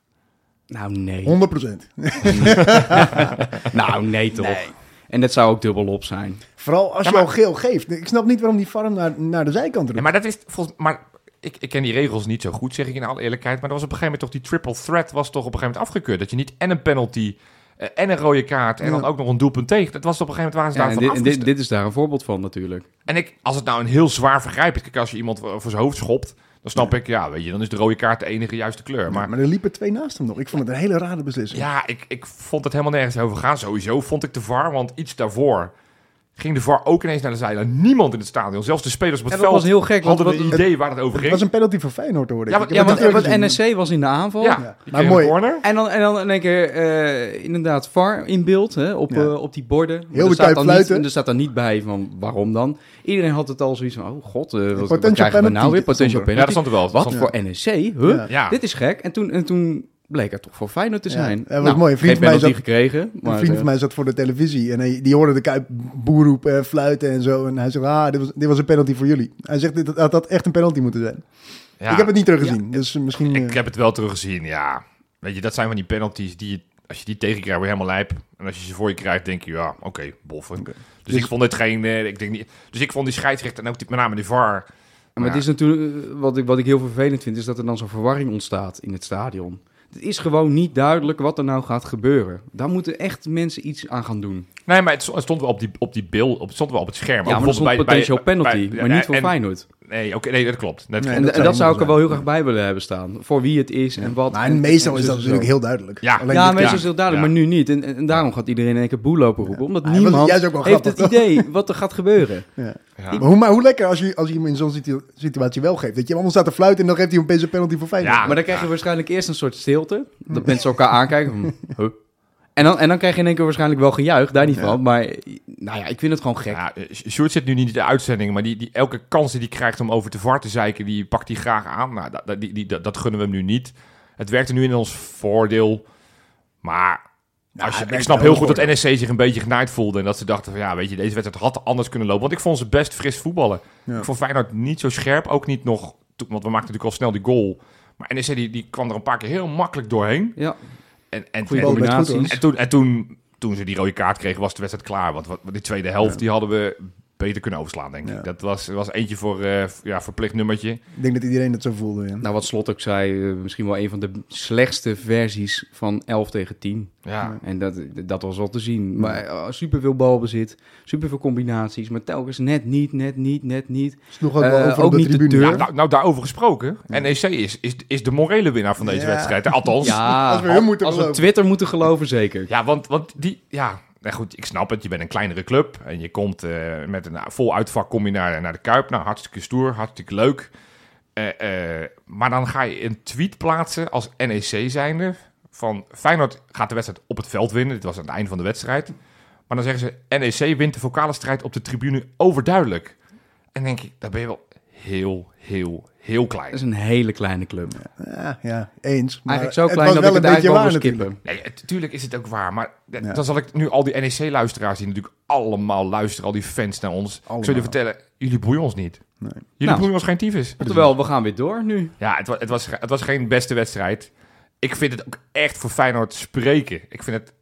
[SPEAKER 1] Nou nee,
[SPEAKER 3] 100 procent.
[SPEAKER 1] nou nee toch. En dat zou ook dubbel op zijn.
[SPEAKER 3] Vooral als
[SPEAKER 2] Ja,
[SPEAKER 3] je al
[SPEAKER 2] maar-
[SPEAKER 3] geel geeft. Ik snap niet waarom die farm naar, naar de zijkant roept.
[SPEAKER 2] Nee, maar dat is volgens maar ik, ik ken die regels niet zo goed, zeg ik in alle eerlijkheid. Maar er was op een gegeven moment toch die triple threat was toch op een gegeven moment afgekeurd. Dat je niet en een penalty eh, en een rode kaart en
[SPEAKER 3] Ja.
[SPEAKER 2] dan ook nog een doelpunt tegen. Dat was op een gegeven moment
[SPEAKER 1] Ja,
[SPEAKER 2] waar
[SPEAKER 1] en
[SPEAKER 2] ze
[SPEAKER 1] dit,
[SPEAKER 2] daarvan
[SPEAKER 1] en
[SPEAKER 2] af.
[SPEAKER 1] dit, dit is daar een voorbeeld van natuurlijk.
[SPEAKER 2] En ik, als het nou een heel zwaar vergrijp is, kijk, als je iemand voor voor zijn hoofd schopt, dan snap ik, ja, weet je, dan is de rode kaart de enige juiste kleur. Maar
[SPEAKER 3] maar, er liepen twee naast hem nog. Ik vond het een hele rare beslissing.
[SPEAKER 2] ja, ik, ik vond het helemaal nergens over gaan. Sowieso vond ik de VAR, want iets daarvoor ging de VAR ook ineens naar de zijlijn. Niemand in het stadion, zelfs de spelers op het
[SPEAKER 1] En dat
[SPEAKER 2] veld,
[SPEAKER 1] was heel gek, want
[SPEAKER 2] hadden een
[SPEAKER 1] wat-
[SPEAKER 2] idee waar het over
[SPEAKER 3] Het
[SPEAKER 2] ging.
[SPEAKER 3] was een penalty voor Feyenoord, hoorde ik.
[SPEAKER 2] Ja, maar-
[SPEAKER 3] Ik
[SPEAKER 2] ja,
[SPEAKER 3] heb
[SPEAKER 1] Want,
[SPEAKER 3] het
[SPEAKER 1] eh,
[SPEAKER 3] niet
[SPEAKER 1] want
[SPEAKER 3] gezien.
[SPEAKER 1] NSC was in de aanval.
[SPEAKER 2] Ja,
[SPEAKER 3] Ja.
[SPEAKER 2] die
[SPEAKER 3] Maar
[SPEAKER 2] kreeg
[SPEAKER 3] mooi.
[SPEAKER 2] een corner.
[SPEAKER 1] En dan, en dan in één keer eh, inderdaad VAR in beeld hè, op,
[SPEAKER 3] Ja.
[SPEAKER 1] eh, op die borden. Maar
[SPEAKER 3] de
[SPEAKER 1] er
[SPEAKER 3] tijd
[SPEAKER 1] staat dan niet,
[SPEAKER 3] fluiten.
[SPEAKER 1] Er staat dan niet bij van waarom dan. Iedereen had het al zoiets van, oh god, eh, wat, wat
[SPEAKER 3] Potential
[SPEAKER 1] krijgen we nou
[SPEAKER 3] penalty
[SPEAKER 1] weer? Potential
[SPEAKER 3] stond
[SPEAKER 2] Ja, dat
[SPEAKER 1] penalty.
[SPEAKER 2] stond er wel. Dat
[SPEAKER 1] Wat
[SPEAKER 2] stond-
[SPEAKER 1] voor NSC? Huh?
[SPEAKER 3] Ja.
[SPEAKER 2] Ja.
[SPEAKER 1] Dit is gek. En toen, en toen bleek het toch voor Feyenoord te
[SPEAKER 3] Ja,
[SPEAKER 1] zijn. Nou,
[SPEAKER 3] dat was mooi. Een vriend
[SPEAKER 1] geen
[SPEAKER 3] van mij
[SPEAKER 1] penalty gekregen.
[SPEAKER 3] een
[SPEAKER 1] Maar,
[SPEAKER 3] vriend
[SPEAKER 1] eh,
[SPEAKER 3] van mij zat voor de televisie en hij, die hoorde de Kuip boer roepen en fluiten en zo. En hij zegt, ah, dit was, dit was een penalty voor jullie. Hij zegt, dit had, had echt een penalty moeten zijn.
[SPEAKER 2] Ja.
[SPEAKER 3] Ik heb het niet teruggezien, dus misschien... eh,
[SPEAKER 2] Ik heb het wel teruggezien, ja. Weet je, dat zijn van die penalties die je, als je die tegenkrijgt, word je helemaal lijp. En als je ze voor je krijgt, denk je, ja, oké, boffen. Dus, ik vond het geen, eh, ik denk niet, dus ik vond die scheidsrechter en ook die, met name die VAR.
[SPEAKER 1] maar het is natuurlijk, eh, wat ik, wat ik heel vervelend vind, is dat er dan zo'n verwarring ontstaat in het stadion. Het is gewoon niet duidelijk wat er nou gaat gebeuren. Daar moeten echt mensen iets aan gaan doen.
[SPEAKER 2] Nee, maar het sto- het stond wel op die, op die bil, op, het stond wel op het scherm.
[SPEAKER 1] Ja,
[SPEAKER 2] Ook
[SPEAKER 1] maar er stond
[SPEAKER 2] bijvoorbeeld
[SPEAKER 1] potential penalty,
[SPEAKER 2] bij-
[SPEAKER 1] maar niet voor
[SPEAKER 2] en-
[SPEAKER 1] Feyenoord.
[SPEAKER 2] Nee, oké, nee, dat klopt. Dat-
[SPEAKER 3] Nee.
[SPEAKER 1] En,
[SPEAKER 3] dat
[SPEAKER 1] en
[SPEAKER 3] zou
[SPEAKER 1] dat zou ik
[SPEAKER 3] moeten
[SPEAKER 1] er wel heel graag bij willen hebben staan. Voor wie het is en wat.
[SPEAKER 3] maar meestal is dat natuurlijk heel duidelijk.
[SPEAKER 2] Ja.
[SPEAKER 3] Alleen
[SPEAKER 1] Ja, meestal
[SPEAKER 3] dit-
[SPEAKER 2] ja.
[SPEAKER 1] is het heel duidelijk,
[SPEAKER 2] Ja.
[SPEAKER 1] maar nu niet. En, en, en daarom gaat iedereen in één keer boel lopen roepen. Omdat
[SPEAKER 3] Ja, maar
[SPEAKER 1] niemand
[SPEAKER 3] dat is juist ook wel
[SPEAKER 1] heeft het
[SPEAKER 3] grappig,
[SPEAKER 1] idee wat er gaat gebeuren.
[SPEAKER 3] ja.
[SPEAKER 2] Ja.
[SPEAKER 3] Maar, hoe, maar hoe lekker als je, als je hem in zo'n situ- situatie wel geeft. Dat je allemaal staat te fluiten en dan geeft hij opeens een penalty voor Feyenoord.
[SPEAKER 2] Ja.
[SPEAKER 1] Maar dan krijg je waarschijnlijk eerst een soort stilte. Dat mensen elkaar aankijken.
[SPEAKER 3] <laughs>
[SPEAKER 1] van, huh? En dan, en dan krijg je in één keer waarschijnlijk wel gejuich, daar niet van. Maar nou ja, ik vind het gewoon gek.
[SPEAKER 2] Ja, eh, Sjoerd zit nu niet in de uitzending, maar die, die, elke kans die hij krijgt om over te VAR te zeiken, die pakt hij graag aan. Nou, dat, dat- die, die, dat, dat gunnen we hem nu niet. Het werkte nu in ons voordeel, maar als je,
[SPEAKER 3] het
[SPEAKER 2] ik
[SPEAKER 3] werkt
[SPEAKER 2] snap
[SPEAKER 3] wel
[SPEAKER 2] heel
[SPEAKER 3] in
[SPEAKER 2] goed
[SPEAKER 3] ons
[SPEAKER 2] dat NSC zich een beetje genaaid voelde. En dat ze dachten van, ja, weet je, deze wedstrijd had anders kunnen lopen. Want ik vond ze best fris voetballen.
[SPEAKER 3] Ja.
[SPEAKER 2] Ik vond Feyenoord niet zo scherp, ook niet nog, toen- want we maakten natuurlijk al snel die goal. Maar NSC die, die kwam er een paar keer heel makkelijk doorheen.
[SPEAKER 1] Ja,
[SPEAKER 2] En, en,
[SPEAKER 1] goede
[SPEAKER 2] en-
[SPEAKER 3] bal, werd goed, hoor.
[SPEAKER 1] combinaties.
[SPEAKER 2] en toen, en toen, toen ze die rode kaart kregen, was de wedstrijd klaar. Want wat, die tweede helft die hadden we beter kunnen overslaan, denk ik.
[SPEAKER 3] Ja.
[SPEAKER 2] Dat was, was eentje voor eh, v- ja, verplicht nummertje.
[SPEAKER 3] Ik denk dat iedereen dat zo voelde. Ja.
[SPEAKER 1] Nou, wat Slot ook zei, eh, misschien wel een van de slechtste versies van 11 tegen 10.
[SPEAKER 2] Ja.
[SPEAKER 1] En dat, dat was wel te zien. Maar super veel balbezit, super veel combinaties, maar telkens net niet, net niet, net niet.
[SPEAKER 3] Sloeg ook wel
[SPEAKER 1] Eh,
[SPEAKER 3] over
[SPEAKER 1] ook
[SPEAKER 3] op de
[SPEAKER 1] niet de
[SPEAKER 3] tribune.
[SPEAKER 1] deur.
[SPEAKER 2] Ja, nou, nou, daarover gesproken. NEC is, is, is de morele winnaar van deze
[SPEAKER 3] Ja.
[SPEAKER 2] wedstrijd. Althans. Ja,
[SPEAKER 1] Ja,
[SPEAKER 3] Als we hun moeten
[SPEAKER 1] als we
[SPEAKER 3] geloven.
[SPEAKER 1] Twitter moeten geloven, zeker.
[SPEAKER 2] Eh, want, want die... Ja, nou goed, ik snap het. Je bent een kleinere club. En je komt eh, met een vol uitvak kom je naar, naar de Kuip. Nou, hartstikke stoer, hartstikke leuk. Eh, eh, maar dan ga je een tweet plaatsen als NEC zijnde. Van Feyenoord gaat de wedstrijd op het veld winnen. Dit was aan het einde van de wedstrijd. Maar dan zeggen ze, NEC wint de vocale strijd op de tribune overduidelijk. En denk ik, daar ben je wel heel, heel, heel klein.
[SPEAKER 1] Dat is een hele kleine club.
[SPEAKER 3] Ja, ja, eens. Maar
[SPEAKER 1] Eigenlijk zo
[SPEAKER 3] het
[SPEAKER 1] klein
[SPEAKER 3] was
[SPEAKER 1] dat ik het
[SPEAKER 3] een beetje
[SPEAKER 1] eigenlijk wel wil
[SPEAKER 3] waar
[SPEAKER 1] skippen.
[SPEAKER 2] Nee, het- tuurlijk is het ook waar. Maar d-
[SPEAKER 3] Ja.
[SPEAKER 2] dan zal ik nu al die NEC-luisteraars, die natuurlijk allemaal luisteren, al die fans naar ons. Ik
[SPEAKER 3] Allemaal.
[SPEAKER 2] zal jullie vertellen, jullie boeien ons niet. Jullie
[SPEAKER 1] Nou.
[SPEAKER 2] boeien ons geen tyfus.
[SPEAKER 1] Oftewel, we gaan weer door nu.
[SPEAKER 2] Ja, het was, het, was, het was geen beste wedstrijd. Ik vind het ook echt voor Feyenoord spreken. Ik vind het...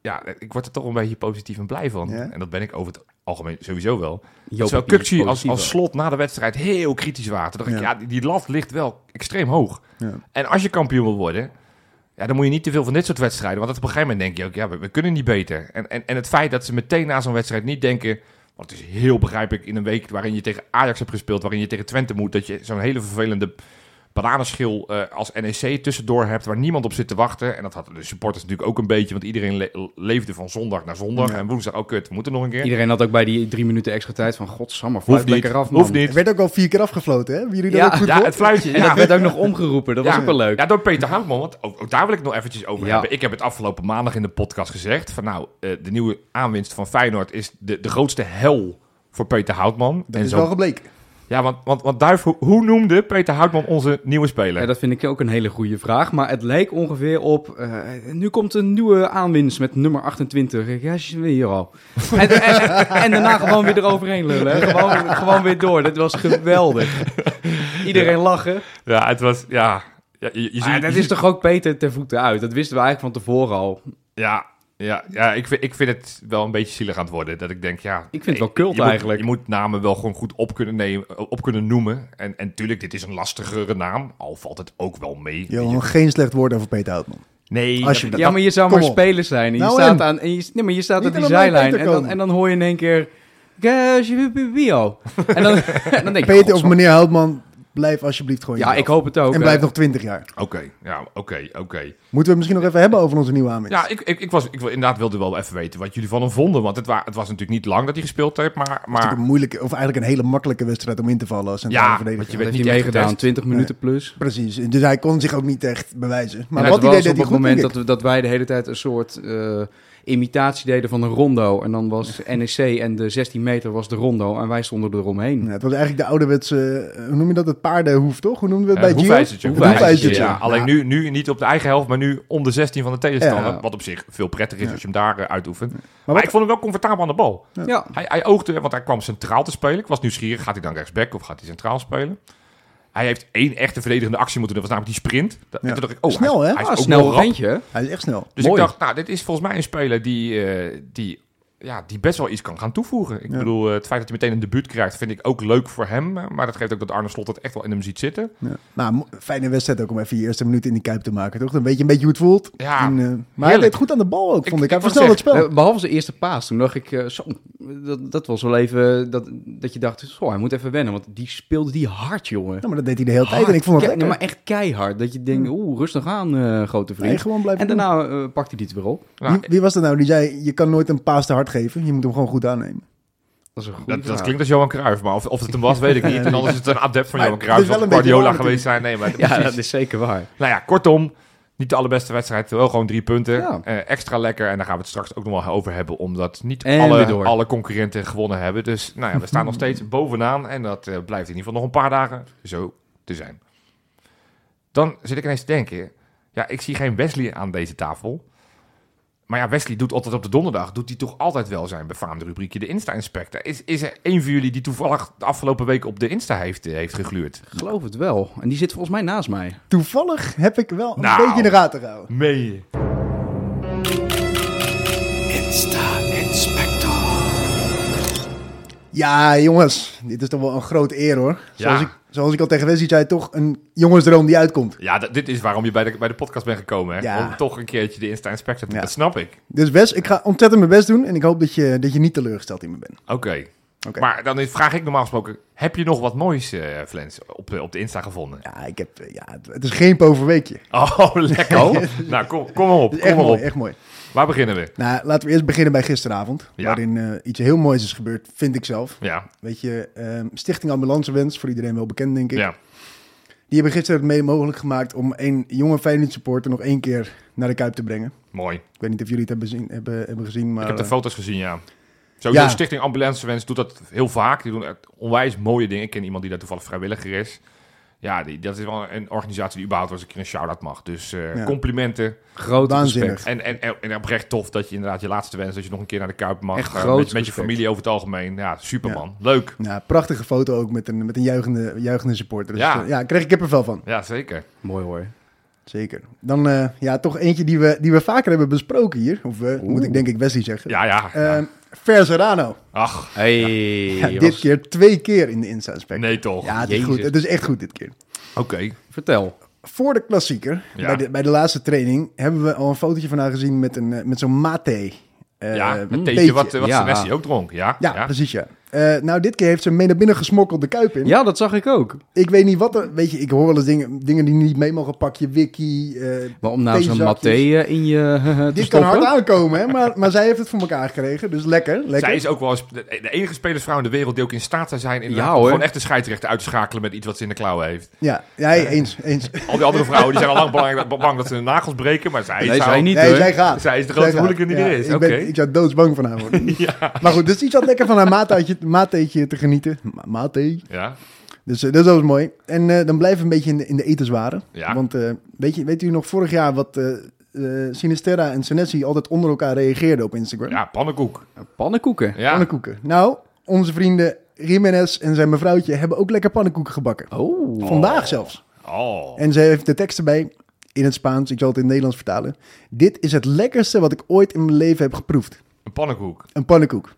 [SPEAKER 2] Ja, ik word er toch een beetje positief en blij van.
[SPEAKER 3] Ja?
[SPEAKER 2] En dat ben ik over het algemeen sowieso wel.
[SPEAKER 1] Joop
[SPEAKER 2] Terwijl
[SPEAKER 1] Papier is
[SPEAKER 2] Kukci als,
[SPEAKER 1] positief
[SPEAKER 2] als
[SPEAKER 1] ook.
[SPEAKER 2] slot na de wedstrijd heel kritisch waren. Toen dacht ik,
[SPEAKER 3] Ja.
[SPEAKER 2] ja, die, die lat ligt wel extreem hoog.
[SPEAKER 3] Ja.
[SPEAKER 2] En als je kampioen wil worden... Ja, dan moet je niet te veel van dit soort wedstrijden. Want op een gegeven moment denk je ook, ja, we, we kunnen niet beter. En, en, en het feit dat ze meteen na zo'n wedstrijd niet denken... Want het is heel begrijpelijk in een week waarin je tegen Ajax hebt gespeeld... waarin je tegen Twente moet, dat je zo'n hele vervelende bananenschil eh, als NEC tussendoor hebt... waar niemand op zit te wachten. En dat hadden de supporters natuurlijk ook een beetje... want iedereen le- leefde van zondag naar zondag. En woensdag, oh kut, we moeten nog een keer.
[SPEAKER 1] Iedereen had ook bij die drie minuten extra tijd van... Godsamme,
[SPEAKER 2] Hoeft
[SPEAKER 1] fluit
[SPEAKER 2] niet,
[SPEAKER 1] lekker af, man.
[SPEAKER 2] hoeft
[SPEAKER 3] Het
[SPEAKER 2] niet.
[SPEAKER 3] werd ook al vier keer afgefloten, hè? Hebben jullie dat
[SPEAKER 1] Ja,
[SPEAKER 3] ook goed
[SPEAKER 2] Ja,
[SPEAKER 3] gehoord?
[SPEAKER 2] het fluitje,
[SPEAKER 1] En dat
[SPEAKER 2] ja.
[SPEAKER 1] werd ook nog omgeroepen. Dat was ook wel leuk.
[SPEAKER 2] Ja, door Peter Houtman. Want ook, ook daar wil ik het nog eventjes over
[SPEAKER 1] Ja.
[SPEAKER 2] hebben. Ik heb het afgelopen maandag in de podcast gezegd. Van nou, eh, de nieuwe aanwinst van Feyenoord is de, de grootste hel voor Peter Houtman.
[SPEAKER 3] Dat
[SPEAKER 2] en
[SPEAKER 3] is
[SPEAKER 2] zo.
[SPEAKER 3] wel gebleken.
[SPEAKER 2] Ja, want, want, want Duif, hoe, hoe noemde Peter Houtman onze nieuwe speler?
[SPEAKER 1] Ja, dat vind ik ook een hele goede vraag. Maar het lijkt ongeveer op. eh, nu komt een nieuwe aanwinst met nummer 28. Ja, je weet hier al. En, en, en daarna gewoon weer eroverheen lullen. hè. Gewoon, gewoon weer door. Dat was geweldig. Iedereen lachen.
[SPEAKER 2] Ja, het was... Ja, ja je, je ziet-
[SPEAKER 1] Maar
[SPEAKER 2] je
[SPEAKER 1] Ah, dat
[SPEAKER 2] ziet-
[SPEAKER 1] is toch ook Peter ter voeten uit. Dat wisten we eigenlijk van tevoren al.
[SPEAKER 2] Ja, ja, ja ik, vind, ik vind het wel een beetje zielig aan het worden. Dat ik denk, ja...
[SPEAKER 1] Ik vind het wel
[SPEAKER 2] je-
[SPEAKER 1] cult
[SPEAKER 2] je moet-
[SPEAKER 1] eigenlijk.
[SPEAKER 2] je moet namen wel gewoon goed op kunnen, nemen, op kunnen noemen. En, en tuurlijk, dit is een lastigere naam. Al valt het ook wel mee.
[SPEAKER 3] Johan, geen slecht woord over Peter Houtman.
[SPEAKER 2] Nee,
[SPEAKER 3] Als je-
[SPEAKER 2] dat-
[SPEAKER 1] Ja, maar je zou
[SPEAKER 3] kom
[SPEAKER 1] maar
[SPEAKER 3] op.
[SPEAKER 1] speler zijn. En je
[SPEAKER 3] Nou,
[SPEAKER 1] staat,
[SPEAKER 3] en?
[SPEAKER 1] aan, en je, nee, maar je staat
[SPEAKER 3] Niet
[SPEAKER 1] aan die
[SPEAKER 3] aan mijn
[SPEAKER 1] zijlijn.
[SPEAKER 3] Peter
[SPEAKER 1] En dan,
[SPEAKER 3] komen.
[SPEAKER 1] en dan hoor je in één keer... "Ja, je weet wie- wie al?" En dan, en dan denk je...
[SPEAKER 3] Peter of
[SPEAKER 1] "Godzo."
[SPEAKER 3] meneer Houtman, blijf alsjeblieft gewoon
[SPEAKER 1] Ja,
[SPEAKER 3] jezelf.
[SPEAKER 1] ik hoop het ook.
[SPEAKER 3] En
[SPEAKER 1] hè.
[SPEAKER 3] blijf nog twintig jaar.
[SPEAKER 2] Oké, ja, oké, oké.
[SPEAKER 3] Moeten we het misschien nog even hebben over onze nieuwe aanwinst?
[SPEAKER 2] Ja, ik, ik, ik, was, ik wil- inderdaad wilde wel even weten wat jullie van hem vonden. Want het, wa, het was natuurlijk niet lang dat hij gespeeld heeft, maar...
[SPEAKER 3] Het is
[SPEAKER 2] maar
[SPEAKER 3] natuurlijk een moeilijke, of eigenlijk een hele makkelijke wedstrijd om in te vallen als centrale
[SPEAKER 2] Ja,
[SPEAKER 3] verdediger.
[SPEAKER 2] want je
[SPEAKER 1] Dat
[SPEAKER 2] werd
[SPEAKER 1] heeft
[SPEAKER 2] niet
[SPEAKER 1] hij
[SPEAKER 2] echt
[SPEAKER 1] meegedaan. 20
[SPEAKER 2] getest.
[SPEAKER 1] minuten plus.
[SPEAKER 3] Precies, dus hij kon zich ook niet echt bewijzen. Maar
[SPEAKER 1] Maar
[SPEAKER 3] wat
[SPEAKER 1] wat
[SPEAKER 3] hij
[SPEAKER 1] was
[SPEAKER 3] deed,
[SPEAKER 1] op
[SPEAKER 3] deed
[SPEAKER 1] het
[SPEAKER 3] hij goed,
[SPEAKER 1] moment
[SPEAKER 3] denk
[SPEAKER 1] dat
[SPEAKER 3] ik.
[SPEAKER 1] we- dat wij de hele tijd een soort eh, imitatie deden van een rondo. En dan was NEC en de 16 meter was de rondo. En wij stonden eromheen.
[SPEAKER 3] Ja, het was eigenlijk de ouderwetse, eh, hoe noem je dat, het paardenhoef, toch? Hoe noemden we het
[SPEAKER 2] eh,
[SPEAKER 3] bij Gio?
[SPEAKER 2] hoefijzertje.
[SPEAKER 3] Het
[SPEAKER 1] Hoefijzertje,
[SPEAKER 3] hoefijzertje.
[SPEAKER 2] Ja, alleen
[SPEAKER 3] Ja.
[SPEAKER 2] Nu, nu niet op de eigen helft, maar nu om de 16 van de tegenstander.
[SPEAKER 1] Ja.
[SPEAKER 2] Wat op zich veel prettiger is als je hem daar eh, uitoefent. Maar,
[SPEAKER 3] wat-
[SPEAKER 2] ik vond hem wel comfortabel aan de bal.
[SPEAKER 1] Ja.
[SPEAKER 2] Hij, hij oogde, want hij kwam centraal te spelen. Ik was nieuwsgierig, gaat hij dan rechtsback of gaat hij centraal spelen? Hij heeft één echte verdedigende actie moeten doen. Dat was namelijk die sprint. Dat,
[SPEAKER 3] Ja.
[SPEAKER 2] en toen dacht ik, oh,
[SPEAKER 3] Snel,
[SPEAKER 2] hij,
[SPEAKER 3] hè?
[SPEAKER 2] Hij is
[SPEAKER 1] Ah,
[SPEAKER 2] ook
[SPEAKER 1] snel
[SPEAKER 2] wel rap.
[SPEAKER 1] randje.
[SPEAKER 3] Hij is echt snel.
[SPEAKER 2] Dus
[SPEAKER 1] Mooi.
[SPEAKER 2] ik dacht, nou, dit is volgens mij een speler die, eh, die, ja, die best wel iets kan gaan toevoegen. Ik
[SPEAKER 3] Ja.
[SPEAKER 2] bedoel, eh, het feit dat hij meteen een debuut krijgt, vind ik ook leuk voor hem. eh, Maar dat geeft ook dat Arne Slot het echt wel in hem ziet zitten.
[SPEAKER 3] Ja. Maar mo- fijne wedstrijd ook om even je eerste minuut in die kuip te maken, toch? Dan weet je een beetje hoe het voelt.
[SPEAKER 2] Ja,
[SPEAKER 3] En, eh, maar hij
[SPEAKER 2] heerlijk.
[SPEAKER 3] deed goed aan de bal ook,
[SPEAKER 2] Ik-
[SPEAKER 3] vond
[SPEAKER 2] ik
[SPEAKER 3] ik. Hij
[SPEAKER 2] wou
[SPEAKER 3] versnelde het spel.
[SPEAKER 1] Eh, Behalve zijn eerste paas, toen dacht ik, eh, zo, dat, dat was wel even eh, dat, dat je dacht, zo, hij moet even wennen, want die speelde die hard, jongen.
[SPEAKER 3] Ja, maar dat deed hij de
[SPEAKER 2] Oh,
[SPEAKER 3] hele tijd en ik vond het
[SPEAKER 1] Ke- nee,
[SPEAKER 3] lekker.
[SPEAKER 1] maar echt keihard, dat je denkt, oeh, rustig aan, eh, grote
[SPEAKER 3] Nee,
[SPEAKER 1] vriend.
[SPEAKER 3] gewoon blijven
[SPEAKER 1] en daarna eh, pakt hij dit weer op.
[SPEAKER 2] Nou,
[SPEAKER 3] wie, wie was dat nou die zei, je kan nooit een paas te hard geven. Je moet hem gewoon goed aannemen.
[SPEAKER 1] Dat is een goede
[SPEAKER 2] Dat, dat
[SPEAKER 1] vraag.
[SPEAKER 2] klinkt als Johan Cruijff, maar of, of het hem was, weet ik
[SPEAKER 3] <laughs>
[SPEAKER 2] niet. En anders is het een adept van
[SPEAKER 3] Maar
[SPEAKER 2] Johan
[SPEAKER 3] het is
[SPEAKER 2] Cruijff,
[SPEAKER 3] wel
[SPEAKER 2] of
[SPEAKER 3] een beetje
[SPEAKER 2] Guardiola
[SPEAKER 3] waar
[SPEAKER 2] geweest zijn. Nee, maar
[SPEAKER 1] Ja,
[SPEAKER 2] precies.
[SPEAKER 1] dat is zeker waar.
[SPEAKER 2] Nou ja, kortom, niet de allerbeste wedstrijd. Wel gewoon drie punten.
[SPEAKER 1] Ja.
[SPEAKER 2] Eh, extra lekker. En daar gaan we het straks ook nog wel over hebben, omdat niet
[SPEAKER 1] En weer
[SPEAKER 2] alle,
[SPEAKER 1] door.
[SPEAKER 2] alle concurrenten gewonnen hebben. Dus nou ja, we
[SPEAKER 1] <laughs>
[SPEAKER 2] staan nog steeds bovenaan. En dat eh, blijft in ieder geval nog een paar dagen zo te zijn. Dan zit ik ineens te denken, ja, ik zie geen Wesley aan deze tafel. Maar ja, Wesley doet altijd op de donderdag, doet hij toch altijd wel zijn befaamde rubriekje, de Insta-inspector. Is, is er één van jullie die toevallig de afgelopen week op de Insta heeft, eh, heeft gegluurd?
[SPEAKER 1] Ik geloof het wel. En die zit volgens mij naast mij.
[SPEAKER 3] Toevallig heb ik wel een
[SPEAKER 2] Nou.
[SPEAKER 3] beetje in de gaten gehouden.
[SPEAKER 2] Mee.
[SPEAKER 3] Ja, jongens, dit is toch wel een grote eer hoor. Zoals,
[SPEAKER 2] Ja.
[SPEAKER 3] ik, zoals ik al tegen Wesley zei, toch een jongensdroom die uitkomt.
[SPEAKER 2] Ja, d- dit is waarom je bij de, bij de podcast bent gekomen. Hè?
[SPEAKER 3] Ja.
[SPEAKER 2] Om toch een keertje de Insta Inspector te
[SPEAKER 3] Ja.
[SPEAKER 2] Dat snap ik.
[SPEAKER 3] Dus Wes, ik ga ontzettend mijn best doen en ik hoop dat je, dat je niet teleurgesteld in me bent.
[SPEAKER 2] Oké.
[SPEAKER 3] Oké.
[SPEAKER 2] Maar dan is- vraag ik normaal gesproken: heb je nog wat moois, eh Flens, op, de- op de Insta gevonden?
[SPEAKER 3] Ja, ik heb, eh, ja, het- het is geen poverweekje.
[SPEAKER 2] <laughs> Oh, lekker.
[SPEAKER 3] <laughs>
[SPEAKER 2] nou, kom, kom maar op.
[SPEAKER 3] Het is
[SPEAKER 2] Kom
[SPEAKER 3] echt
[SPEAKER 2] maar
[SPEAKER 3] mooi,
[SPEAKER 2] op.
[SPEAKER 3] echt mooi.
[SPEAKER 2] Waar beginnen we?
[SPEAKER 3] Nou, laten we eerst beginnen bij gisteravond,
[SPEAKER 2] Ja.
[SPEAKER 3] waarin eh, iets heel moois is gebeurd, vind ik zelf.
[SPEAKER 2] Ja.
[SPEAKER 3] Weet je, ehm, Stichting Ambulancewens, voor iedereen wel bekend denk ik.
[SPEAKER 2] ja.
[SPEAKER 3] Die hebben gisteren het mede mogelijk gemaakt om één jonge Feyenoord supporter nog één keer naar de Kuip te brengen.
[SPEAKER 2] Mooi.
[SPEAKER 3] Ik weet niet of jullie het hebben, zien, hebben, hebben gezien, maar...
[SPEAKER 2] ik heb de
[SPEAKER 3] eh,
[SPEAKER 2] foto's gezien, ja. Sowieso,
[SPEAKER 3] Ja.
[SPEAKER 2] Stichting Ambulancewens doet dat heel vaak. Die doen echt onwijs mooie dingen. Ik ken iemand die daar toevallig vrijwilliger is. Ja, die, dat is wel een organisatie die überhaupt wel eens een keer een shout-out mag. Dus eh,
[SPEAKER 3] Ja.
[SPEAKER 2] complimenten.
[SPEAKER 1] Groot
[SPEAKER 3] Waanzinnig.
[SPEAKER 1] respect.
[SPEAKER 2] En, en, en, en oprecht tof dat je inderdaad je laatste wens, dat je nog een keer naar de Kuip mag.
[SPEAKER 1] Echt
[SPEAKER 2] Eh,
[SPEAKER 1] groot
[SPEAKER 2] met, met je
[SPEAKER 1] respect.
[SPEAKER 2] familie over het algemeen. Ja, superman. Leuk.
[SPEAKER 3] Ja, prachtige foto ook met een, met een juichende, juichende supporter. Dus,
[SPEAKER 2] Ja.
[SPEAKER 3] eh, ja, kreeg ik kippenvel van.
[SPEAKER 2] Ja, zeker.
[SPEAKER 1] Mooi hoor.
[SPEAKER 3] Zeker. Dan eh, ja, toch eentje die we, die we vaker hebben besproken hier. Of we, moet ik denk ik Wesley zeggen.
[SPEAKER 2] Ja, ja. ja.
[SPEAKER 3] Ehm, Fer Serrano.
[SPEAKER 2] Ach,
[SPEAKER 1] Hey,
[SPEAKER 3] Ja,
[SPEAKER 1] was-
[SPEAKER 3] dit keer twee keer in de insta spec.
[SPEAKER 2] nee toch.
[SPEAKER 3] Ja, het is,
[SPEAKER 1] Jezus.
[SPEAKER 3] goed. het is echt goed dit keer.
[SPEAKER 2] Oké.
[SPEAKER 1] Eh, vertel.
[SPEAKER 3] Voor de klassieker,
[SPEAKER 2] Ja.
[SPEAKER 3] bij, de, bij de laatste training, hebben we al een fotootje van haar gezien met, een, eh, met zo'n mate. eh,
[SPEAKER 2] ja, het theetje
[SPEAKER 3] theetje.
[SPEAKER 2] wat, wat
[SPEAKER 1] Ja.
[SPEAKER 2] Senesi ook dronk. Ja,
[SPEAKER 3] Ja, precies ja. Eh, nou, dit keer heeft ze hem mee naar binnen gesmokkeld de kuip in.
[SPEAKER 1] Ja, dat zag ik ook.
[SPEAKER 3] Ik weet niet wat er... Weet je, ik hoor wel eens dingen, dingen die niet mee mogen. Pak je wiki, eh,
[SPEAKER 1] Maar om nou zo'n
[SPEAKER 3] theezakjes.
[SPEAKER 1] maté eh, in je te
[SPEAKER 3] Dit kan
[SPEAKER 1] stoppen?
[SPEAKER 3] hard aankomen, hè? Maar, maar zij heeft het voor elkaar gekregen. Dus lekker, lekker.
[SPEAKER 2] Zij is ook wel eens de, de enige spelersvrouw in de wereld die ook in staat zou zijn inderdaad,
[SPEAKER 1] Ja,
[SPEAKER 2] om
[SPEAKER 1] hoor.
[SPEAKER 2] gewoon echt de scheidsrechter uit te schakelen met iets wat ze in de klauwen heeft.
[SPEAKER 3] Ja, jij eens, eens.
[SPEAKER 2] Al die andere vrouwen die zijn al lang belang- <laughs> bang dat ze hun nagels breken, maar zij,
[SPEAKER 1] Nee,
[SPEAKER 2] zou-
[SPEAKER 1] zij niet.
[SPEAKER 3] Nee,
[SPEAKER 1] hoor.
[SPEAKER 3] zij gaat.
[SPEAKER 2] Zij is de
[SPEAKER 3] Zij
[SPEAKER 2] grootste
[SPEAKER 3] gaat.
[SPEAKER 2] hooligan die
[SPEAKER 3] Ja,
[SPEAKER 2] er is.
[SPEAKER 3] Ik,
[SPEAKER 2] Oké.
[SPEAKER 3] ben- ik zou doodsbang van haar
[SPEAKER 2] <laughs>
[SPEAKER 3] worden.
[SPEAKER 2] Ja.
[SPEAKER 3] Maar goed, dus iets had lekker van haar maat uit je, een maaltijdje te genieten. Ma maaltijd.
[SPEAKER 2] Ja,
[SPEAKER 3] Dus eh, dat is ook mooi. En eh, dan blijven we een beetje in de, in de etenswaren.
[SPEAKER 2] Ja.
[SPEAKER 3] Want eh, weet, je, weet u nog vorig jaar wat eh eh, Sinisterra en Senesi altijd onder elkaar reageerden op Instagram?
[SPEAKER 2] ja pannenkoek.
[SPEAKER 1] Pannenkoeken.
[SPEAKER 2] Ja.
[SPEAKER 3] Pannenkoeken. Nou, onze vrienden Jiménez en zijn mevrouwtje hebben ook lekker pannenkoeken gebakken.
[SPEAKER 1] Oh.
[SPEAKER 3] Vandaag zelfs.
[SPEAKER 2] Oh.
[SPEAKER 3] En ze heeft de tekst erbij in het Spaans. Ik zal het in het Nederlands vertalen. Dit is het lekkerste wat ik ooit in mijn leven heb geproefd.
[SPEAKER 2] Een pannenkoek.
[SPEAKER 3] Een pannenkoek.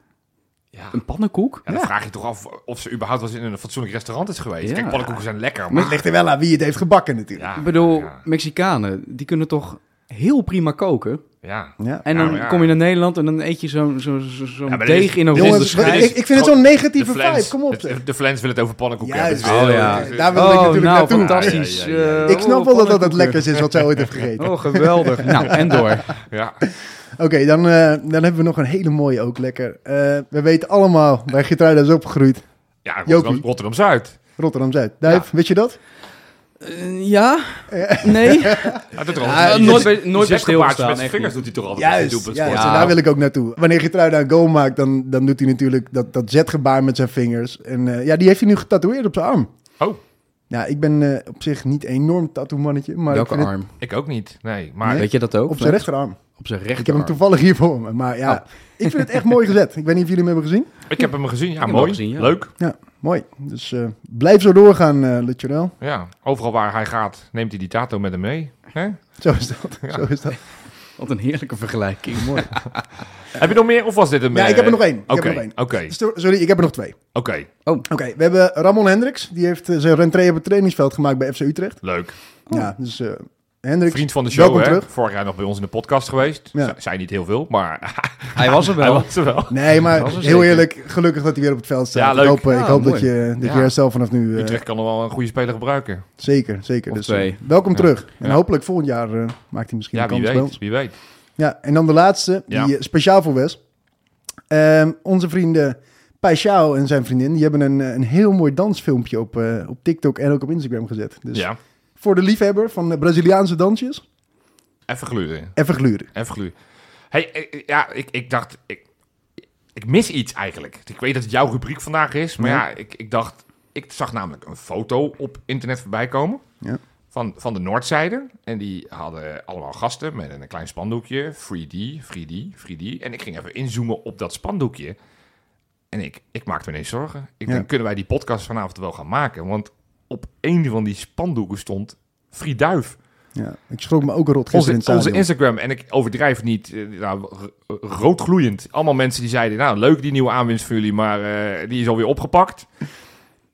[SPEAKER 2] Ja.
[SPEAKER 1] Een pannenkoek?
[SPEAKER 2] Ja, dan vraag je toch af of ze überhaupt was in een fatsoenlijk restaurant is geweest.
[SPEAKER 1] Ja.
[SPEAKER 2] Kijk, pannenkoeken zijn lekker,
[SPEAKER 3] Maar
[SPEAKER 2] maar...
[SPEAKER 3] het ligt er wel aan wie het heeft gebakken natuurlijk.
[SPEAKER 2] Ja,
[SPEAKER 1] Ik bedoel,
[SPEAKER 2] ja,
[SPEAKER 1] Mexicanen, die kunnen toch heel prima koken?
[SPEAKER 2] ja.
[SPEAKER 3] Ja.
[SPEAKER 1] En dan
[SPEAKER 2] Ja, ja.
[SPEAKER 1] kom je naar Nederland en dan eet je zo'n zo, zo, zo'n
[SPEAKER 2] Ja, maar dit is-
[SPEAKER 1] deeg in een
[SPEAKER 2] dit is
[SPEAKER 1] ronde
[SPEAKER 2] de
[SPEAKER 3] Jongens,
[SPEAKER 2] schijf.
[SPEAKER 3] ik,
[SPEAKER 1] schijf.
[SPEAKER 3] ik vind het zo'n negatieve vibe. Kom op. zeg.
[SPEAKER 2] De, de Flens wil het over pannenkoeken
[SPEAKER 3] Juist.
[SPEAKER 2] hebben. Dus-
[SPEAKER 1] Oh, ja.
[SPEAKER 3] Daar wil ik natuurlijk
[SPEAKER 1] nou,
[SPEAKER 3] naartoe.
[SPEAKER 1] fantastisch.
[SPEAKER 2] Ja, ja, ja, ja.
[SPEAKER 1] Eh,
[SPEAKER 3] Ik snap
[SPEAKER 1] oh,
[SPEAKER 3] wel dat dat het
[SPEAKER 1] pannenkoeken.
[SPEAKER 3] lekkers is wat zij ooit heeft gegeten.
[SPEAKER 1] Oh, geweldig. nou, en
[SPEAKER 3] <laughs>
[SPEAKER 1] door.
[SPEAKER 2] <laughs> Ja.
[SPEAKER 3] Oké, dan, eh, dan hebben we nog een hele mooie ook lekker. Eh, we weten allemaal waar Gertruida is opgegroeid.
[SPEAKER 2] Ja,
[SPEAKER 3] Jopie.
[SPEAKER 2] Rotterdam, Rotterdam-Zuid.
[SPEAKER 3] Rotterdam-Zuid. Duif, weet je dat?
[SPEAKER 1] Eh, ja?
[SPEAKER 3] <laughs>
[SPEAKER 1] Nee?
[SPEAKER 2] Ja, dat
[SPEAKER 1] Ja, nooit bij- nooit bij stilgestaan,
[SPEAKER 2] Met
[SPEAKER 1] echt
[SPEAKER 2] zijn vingers
[SPEAKER 1] niet.
[SPEAKER 2] doet hij toch altijd.
[SPEAKER 3] Juist,
[SPEAKER 2] Doet
[SPEAKER 3] juist.
[SPEAKER 1] Ja.
[SPEAKER 3] En daar wil ik ook naartoe. Wanneer Gertruida een goal maakt, dan, dan doet hij natuurlijk dat, dat zetgebaar met zijn vingers. En eh, ja, die heeft hij nu getatoeëerd op zijn arm.
[SPEAKER 2] Oh,
[SPEAKER 3] Ja, ik ben eh, op zich niet enorm tattoo-mannetje, maar ik
[SPEAKER 1] Welke
[SPEAKER 3] vind het-
[SPEAKER 1] arm?
[SPEAKER 2] ik ook niet. Nee, maar
[SPEAKER 3] Nee.
[SPEAKER 1] Weet je dat ook?
[SPEAKER 3] op zijn rechterarm.
[SPEAKER 1] Op zijn
[SPEAKER 3] Ik heb hem
[SPEAKER 1] rechterarm.
[SPEAKER 3] toevallig hier voor me, maar ja,
[SPEAKER 2] Oh.
[SPEAKER 3] ik vind het echt mooi gezet. Ik weet niet of jullie hem hebben gezien.
[SPEAKER 2] ik heb hem gezien. Ja,
[SPEAKER 1] hem
[SPEAKER 2] mooi.
[SPEAKER 1] wel gezien, ja.
[SPEAKER 2] Leuk.
[SPEAKER 3] Ja, mooi. Dus eh, blijf zo doorgaan, eh Le Churel.
[SPEAKER 2] Ja, overal waar hij gaat, neemt hij die tato met hem mee. Hè?
[SPEAKER 3] Zo is dat. Zo
[SPEAKER 2] <laughs>
[SPEAKER 3] is dat.
[SPEAKER 1] Wat een heerlijke vergelijking.
[SPEAKER 3] Mooi.
[SPEAKER 2] Heb je nog meer of was dit hem?
[SPEAKER 3] Ja, ik heb er nog één. Ik heb
[SPEAKER 2] Oké,
[SPEAKER 3] er nog één.
[SPEAKER 2] oké,
[SPEAKER 3] Sto- Sorry, ik heb er nog twee. Oké,
[SPEAKER 2] oké.
[SPEAKER 1] Oh,
[SPEAKER 3] we hebben Ramon Hendricks. Die heeft eh, zijn rentree op het trainingsveld gemaakt bij FC Utrecht.
[SPEAKER 2] Leuk.
[SPEAKER 3] Ja, dus eh Hendricks.
[SPEAKER 2] Oh. Vriend van de
[SPEAKER 3] welkom
[SPEAKER 2] show, hè?
[SPEAKER 3] terug.
[SPEAKER 2] Vorig jaar nog bij ons in de podcast geweest.
[SPEAKER 3] Ja.
[SPEAKER 2] Zij- Zij niet heel veel, maar <laughs>
[SPEAKER 1] Hij was er
[SPEAKER 2] hij
[SPEAKER 1] wel.
[SPEAKER 2] was er wel.
[SPEAKER 3] Nee, maar
[SPEAKER 1] Dat is
[SPEAKER 3] heel
[SPEAKER 1] er zeker.
[SPEAKER 3] eerlijk, gelukkig dat hij weer op het veld staat.
[SPEAKER 2] Ja,
[SPEAKER 3] Ik
[SPEAKER 2] leuk. Ah,
[SPEAKER 3] hoop, eh,
[SPEAKER 1] Ja,
[SPEAKER 3] ik hoop dat,
[SPEAKER 1] mooi.
[SPEAKER 3] je, dat
[SPEAKER 2] Ja.
[SPEAKER 3] je herstel vanaf nu... eh,
[SPEAKER 2] Utrecht kan nog wel een goede speler gebruiken.
[SPEAKER 3] zeker, zeker.
[SPEAKER 1] Of
[SPEAKER 3] Dus,
[SPEAKER 1] twee.
[SPEAKER 3] eh, welkom
[SPEAKER 2] Ja.
[SPEAKER 3] terug. En
[SPEAKER 2] Ja.
[SPEAKER 3] hopelijk volgend jaar eh, maakt hij misschien
[SPEAKER 2] Ja,
[SPEAKER 3] een
[SPEAKER 2] wie
[SPEAKER 3] kans bij
[SPEAKER 2] weet,
[SPEAKER 3] ons.
[SPEAKER 2] wie weet.
[SPEAKER 3] Ja, en dan de laatste,
[SPEAKER 2] Ja.
[SPEAKER 3] die eh, speciaal voor Wes. Ehm, onze vrienden Paixao en zijn vriendin, die hebben een, eh, een heel mooi dansfilmpje op, eh, op TikTok en ook op Instagram gezet. Dus
[SPEAKER 2] Ja,
[SPEAKER 3] voor de liefhebber van eh, Braziliaanse dansjes,
[SPEAKER 2] even gluren.
[SPEAKER 3] even gluren.
[SPEAKER 2] Even gluren. Hey, eh, ja, ik, ik dacht, ik, ik mis iets eigenlijk. Ik weet dat het jouw rubriek vandaag is, maar ja, ik, ik dacht, ik zag namelijk een foto op internet voorbij komen.
[SPEAKER 3] Ja.
[SPEAKER 2] Van, van de Noordzijde. En die hadden allemaal gasten met een klein spandoekje. 3D, 3D, 3D. En ik ging even inzoomen op dat spandoekje. En ik, ik maakte me ineens zorgen. Ik
[SPEAKER 3] Ja.
[SPEAKER 2] denk, kunnen wij die podcast vanavond wel gaan maken? Want op een van die spandoeken stond Frieduif.
[SPEAKER 3] Ja, ik schrok me ook rot gisteren in
[SPEAKER 2] Onze,
[SPEAKER 3] het
[SPEAKER 2] onze
[SPEAKER 3] stadion.
[SPEAKER 2] Instagram, en ik overdrijf niet, eh, nou, r- roodgloeiend. Allemaal mensen die zeiden, nou leuk die nieuwe aanwinst voor jullie, maar eh, die is alweer opgepakt.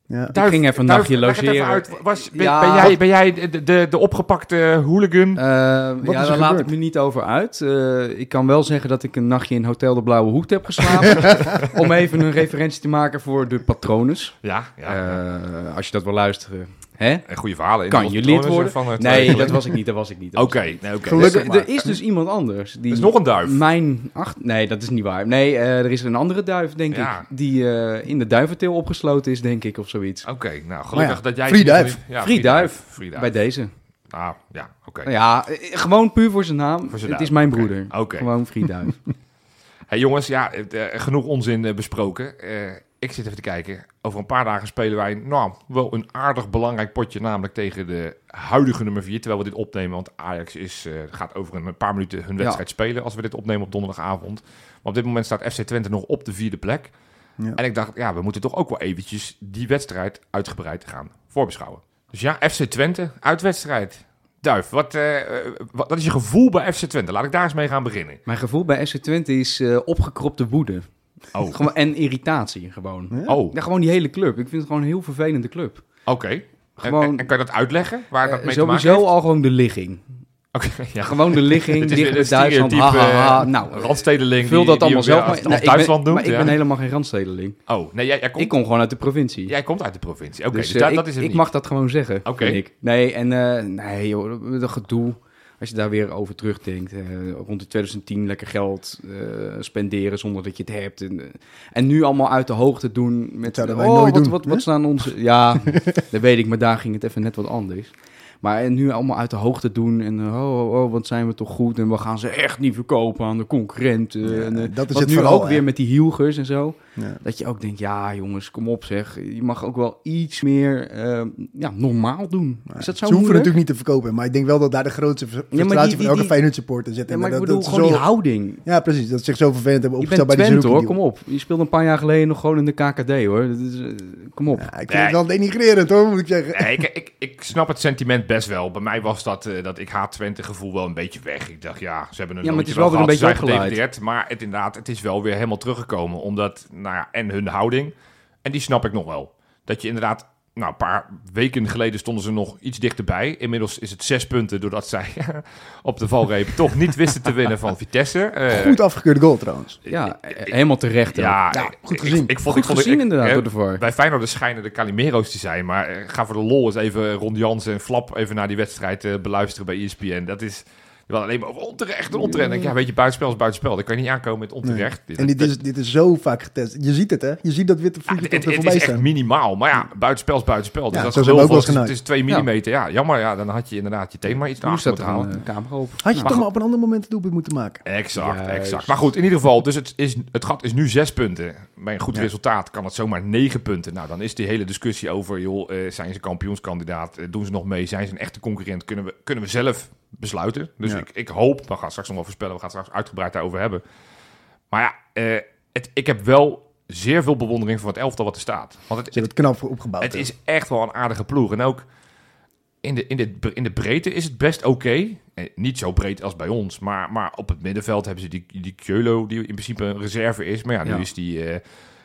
[SPEAKER 3] Ja.
[SPEAKER 2] Duif,
[SPEAKER 1] ging even een
[SPEAKER 2] Duif,
[SPEAKER 1] nachtje
[SPEAKER 2] leg het even
[SPEAKER 1] logeren.
[SPEAKER 2] uit. Was, ben,
[SPEAKER 1] Ja.
[SPEAKER 2] ben jij, ben jij de, de, de opgepakte hooligan?
[SPEAKER 1] Eh,
[SPEAKER 3] Wat
[SPEAKER 1] ja,
[SPEAKER 3] is er
[SPEAKER 1] daar laat
[SPEAKER 3] gebeurd?
[SPEAKER 1] ik me niet over uit. Eh, ik kan wel zeggen dat ik een nachtje in Hotel de Blauwe Hoed heb geslapen.
[SPEAKER 2] <laughs>
[SPEAKER 1] om even een referentie te maken voor de patronus.
[SPEAKER 2] ja, ja.
[SPEAKER 1] Eh, als je dat wil luisteren. Hè?
[SPEAKER 2] En goede verhalen. in
[SPEAKER 1] Kan
[SPEAKER 2] onze
[SPEAKER 1] jullie het
[SPEAKER 2] patronen
[SPEAKER 1] worden?
[SPEAKER 2] Van, eh, twee
[SPEAKER 1] Nee,
[SPEAKER 2] weken
[SPEAKER 1] dat
[SPEAKER 2] geleden.
[SPEAKER 1] was ik niet. Dat was ik niet.
[SPEAKER 2] <laughs> Oké, nee, oké.
[SPEAKER 3] Gelukkig.
[SPEAKER 1] Dus, eh, er is dus iemand anders. Die
[SPEAKER 2] Er is nog een duif.
[SPEAKER 1] Mijn acht... Nee, dat is niet waar. Nee, eh, er is een andere duif, denk
[SPEAKER 2] Ja.
[SPEAKER 1] ik. Die eh, in de duiventeel opgesloten is, denk ik, of zoiets.
[SPEAKER 2] Oké, nou gelukkig
[SPEAKER 3] ja,
[SPEAKER 2] dat jij...
[SPEAKER 3] Free Duif.
[SPEAKER 1] Free
[SPEAKER 2] Ja, Free
[SPEAKER 1] Duif.
[SPEAKER 2] Duif. Free Duif.
[SPEAKER 1] Bij deze.
[SPEAKER 2] Ah, ja, oké.
[SPEAKER 1] Nou Ja, eh, gewoon puur voor zijn naam.
[SPEAKER 2] Voor zijn
[SPEAKER 1] het
[SPEAKER 2] naam,
[SPEAKER 1] is mijn
[SPEAKER 2] oké.
[SPEAKER 1] broeder.
[SPEAKER 2] Oké.
[SPEAKER 1] Gewoon Frieduif.
[SPEAKER 2] <laughs> Hey jongens, ja, het, eh, genoeg onzin eh, besproken. Eh, ik zit even te kijken. Over een paar dagen spelen wij nou, wel een aardig belangrijk potje, namelijk tegen de huidige nummer 4. Terwijl we dit opnemen, want Ajax is, eh, gaat over een paar minuten hun wedstrijd spelen als we dit opnemen op donderdagavond. Maar op dit moment staat FC Twente nog op de vierde plek.
[SPEAKER 3] Ja.
[SPEAKER 2] En ik dacht, ja, we moeten toch ook wel eventjes die wedstrijd uitgebreid gaan voorbeschouwen. Dus ja, FC Twente, uitwedstrijd. Duif, wat, eh, eh, wat, wat is je gevoel bij FC Twente? Laat ik daar eens mee gaan beginnen.
[SPEAKER 1] mijn gevoel bij FC Twente is eh, opgekropte woede.
[SPEAKER 2] Oh,
[SPEAKER 1] Gewoon- en irritatie gewoon.
[SPEAKER 2] oh.
[SPEAKER 1] Ja, gewoon die hele club. Ik vind het gewoon een heel vervelende club.
[SPEAKER 2] Oké.
[SPEAKER 1] Gewoon-
[SPEAKER 2] en, en- en kan je dat uitleggen? Waar dat
[SPEAKER 1] Eh,
[SPEAKER 2] mee te
[SPEAKER 1] sowieso
[SPEAKER 2] maken
[SPEAKER 1] al gewoon de ligging.
[SPEAKER 2] heeft? Oké, <laughs> ja.
[SPEAKER 1] Gewoon de ligging,
[SPEAKER 2] Dit is
[SPEAKER 1] dicht bij
[SPEAKER 2] weer een
[SPEAKER 1] Duitsland. Ha,
[SPEAKER 2] stereotype
[SPEAKER 1] ha, ha.
[SPEAKER 2] eh,
[SPEAKER 1] Nou,
[SPEAKER 2] randstedeling.
[SPEAKER 1] vul
[SPEAKER 2] die-
[SPEAKER 1] dat
[SPEAKER 2] die
[SPEAKER 1] allemaal
[SPEAKER 2] weer
[SPEAKER 1] zelf.
[SPEAKER 2] als-
[SPEAKER 1] maar.
[SPEAKER 2] als
[SPEAKER 1] Nee, ik ben-
[SPEAKER 2] Duitsland doet.
[SPEAKER 1] Maar ik ben helemaal geen randstedeling.
[SPEAKER 2] Oh, nee, jij, jij, komt,
[SPEAKER 1] Ik kom gewoon uit de provincie.
[SPEAKER 2] jij komt uit de provincie. Oké,
[SPEAKER 1] dus
[SPEAKER 2] dus,
[SPEAKER 1] eh,
[SPEAKER 2] dat,
[SPEAKER 1] ik,
[SPEAKER 2] dat is het
[SPEAKER 1] ik
[SPEAKER 2] niet.
[SPEAKER 1] mag dat gewoon zeggen.
[SPEAKER 2] Oké.
[SPEAKER 1] vind ik. Nee, en eh, nee, joh, dat gedoe. Als je daar weer over terugdenkt. eh, rond de 2010 lekker geld eh, spenderen zonder dat je het hebt. En, eh, en nu allemaal uit de hoogte doen. Met,
[SPEAKER 3] zouden wij
[SPEAKER 1] oh,
[SPEAKER 3] nooit
[SPEAKER 1] wat,
[SPEAKER 3] doen,
[SPEAKER 1] Wat, wat, <laughs>
[SPEAKER 3] hè?
[SPEAKER 1] staan onze... Ja, dat weet ik, maar daar ging het even net wat anders. Maar en nu allemaal uit de hoogte doen en eh, oh, oh, oh, wat zijn we toch goed en we gaan ze echt niet verkopen aan de concurrenten.
[SPEAKER 3] Ja,
[SPEAKER 1] en, eh,
[SPEAKER 3] dat is
[SPEAKER 1] wat
[SPEAKER 3] het
[SPEAKER 1] nu
[SPEAKER 3] vooral,
[SPEAKER 1] ook
[SPEAKER 3] hè?
[SPEAKER 1] weer met die hielgers en zo.
[SPEAKER 3] Ja.
[SPEAKER 1] Dat je ook denkt, ja jongens, kom op zeg. Je mag ook wel iets meer eh, ja, normaal doen. Is dat zo
[SPEAKER 3] Ze hoeven
[SPEAKER 1] moeilijk?
[SPEAKER 3] natuurlijk niet te verkopen, maar ik denk wel dat daar de grootste ver-
[SPEAKER 1] die-
[SPEAKER 3] frustratie
[SPEAKER 1] die-
[SPEAKER 3] van elke
[SPEAKER 1] die-
[SPEAKER 3] Feyenoord supporter zit.
[SPEAKER 1] Ja,
[SPEAKER 3] En
[SPEAKER 1] maar ik
[SPEAKER 3] dat,
[SPEAKER 1] bedoel
[SPEAKER 3] dat ze
[SPEAKER 1] gewoon
[SPEAKER 3] zo-
[SPEAKER 1] die houding.
[SPEAKER 3] Ja, precies. Dat ze zich zo vervelend hebben
[SPEAKER 1] Je bent
[SPEAKER 3] opgesteld bij de
[SPEAKER 1] Twente
[SPEAKER 3] Zeroekie
[SPEAKER 1] hoor, kom op. Je speelde een paar jaar geleden nog gewoon in de KKD hoor. Dat is, eh, kom op.
[SPEAKER 3] Ja, ik vind het wel denigrerend hoor, moet ik zeggen.
[SPEAKER 2] Nee, ik, ik, ik snap het sentiment best wel. Bij mij was dat, eh, dat ik haat Twente gevoel wel een beetje weg. Ik dacht, ja, ze hebben een
[SPEAKER 1] Ja, maar het
[SPEAKER 2] loodje
[SPEAKER 1] is wel weer een
[SPEAKER 2] gehad, ze
[SPEAKER 1] beetje
[SPEAKER 2] zijn
[SPEAKER 1] opgeleid.
[SPEAKER 2] gedegradeerd. Maar het, inderdaad, het is wel weer helemaal teruggekomen. Omdat, nou ja, en hun houding. En die snap ik nog wel. Dat je inderdaad, nou, een paar weken geleden stonden ze nog iets dichterbij. Inmiddels is het zes punten doordat zij <laughs> op de valreep toch niet wisten te winnen van Vitesse. Eh,
[SPEAKER 3] Goed afgekeurd goal trouwens.
[SPEAKER 1] Ja, eh, helemaal terecht. ook.
[SPEAKER 2] ja,
[SPEAKER 3] Ja,
[SPEAKER 2] ik-
[SPEAKER 3] goed
[SPEAKER 2] ik-
[SPEAKER 3] gezien.
[SPEAKER 2] Ik, vond,
[SPEAKER 1] Goed
[SPEAKER 2] ik vond, ik-
[SPEAKER 1] gezien
[SPEAKER 2] ik-
[SPEAKER 1] inderdaad
[SPEAKER 2] eh,
[SPEAKER 1] door de VAR.
[SPEAKER 2] Bij Feyenoord schijnen de Calimero's te zijn. Maar eh, ga voor de lol eens even Ron Jansen en Flap even naar die wedstrijd eh, beluisteren bij ESPN. Dat is wel alleen maar over onterecht en onterecht. Dan denk ik, ja, weet je, buitenspel is buitenspel. Daar kan je niet aankomen met onterecht.
[SPEAKER 3] En dit is, dit is zo vaak getest. Je ziet het hè? Je ziet dat witte
[SPEAKER 2] Ja,
[SPEAKER 3] voetje
[SPEAKER 2] het,
[SPEAKER 3] tot er
[SPEAKER 2] het
[SPEAKER 3] voorbij
[SPEAKER 2] is echt
[SPEAKER 3] staan.
[SPEAKER 2] minimaal. Maar ja, buitenspel is buitenspel. Dus
[SPEAKER 3] Ja,
[SPEAKER 2] dat
[SPEAKER 3] zo
[SPEAKER 2] is
[SPEAKER 3] zijn we
[SPEAKER 2] gelul
[SPEAKER 3] ook wel
[SPEAKER 2] van,
[SPEAKER 3] eens
[SPEAKER 2] het is- het is twee
[SPEAKER 1] genaaid.
[SPEAKER 2] millimeter. Ja, jammer. Ja, dan had je inderdaad je thema iets naar
[SPEAKER 1] Hoe
[SPEAKER 2] achter
[SPEAKER 1] staat
[SPEAKER 2] moeten
[SPEAKER 1] er aan
[SPEAKER 2] halen.
[SPEAKER 1] de camera op?
[SPEAKER 3] Had je
[SPEAKER 1] Nou,
[SPEAKER 3] toch maar op een ander moment het doelpunt moeten maken.
[SPEAKER 2] Exact,
[SPEAKER 1] Juist.
[SPEAKER 2] exact. Maar goed, in ieder geval, dus het, is, het gat is nu zes punten. Bij een goed resultaat kan het zomaar negen punten. Nou, dan is die hele discussie over, joh, eh, zijn ze kampioenskandidaat? Eh, doen ze nog mee? Zijn ze een echte concurrent? Kunnen we, kunnen we zelf besluiten? Dus
[SPEAKER 3] Ja.
[SPEAKER 2] ik, ik hoop, we gaan straks nog wel voorspellen, we gaan het straks uitgebreid daarover hebben. Maar ja, eh, het, ik heb wel zeer veel bewondering voor het elftal wat er staat. Want het,
[SPEAKER 3] Ze hebben het knap voor opgebouwd.
[SPEAKER 2] het
[SPEAKER 3] hè.
[SPEAKER 2] is echt wel een aardige ploeg. En ook in de, in de, in de breedte is het best oké. Eh, Niet zo breed als bij ons. Maar, maar op het middenveld hebben ze die, die Keulo, die in principe een reserve is. Maar ja, nu
[SPEAKER 1] Ja.
[SPEAKER 2] is die, eh,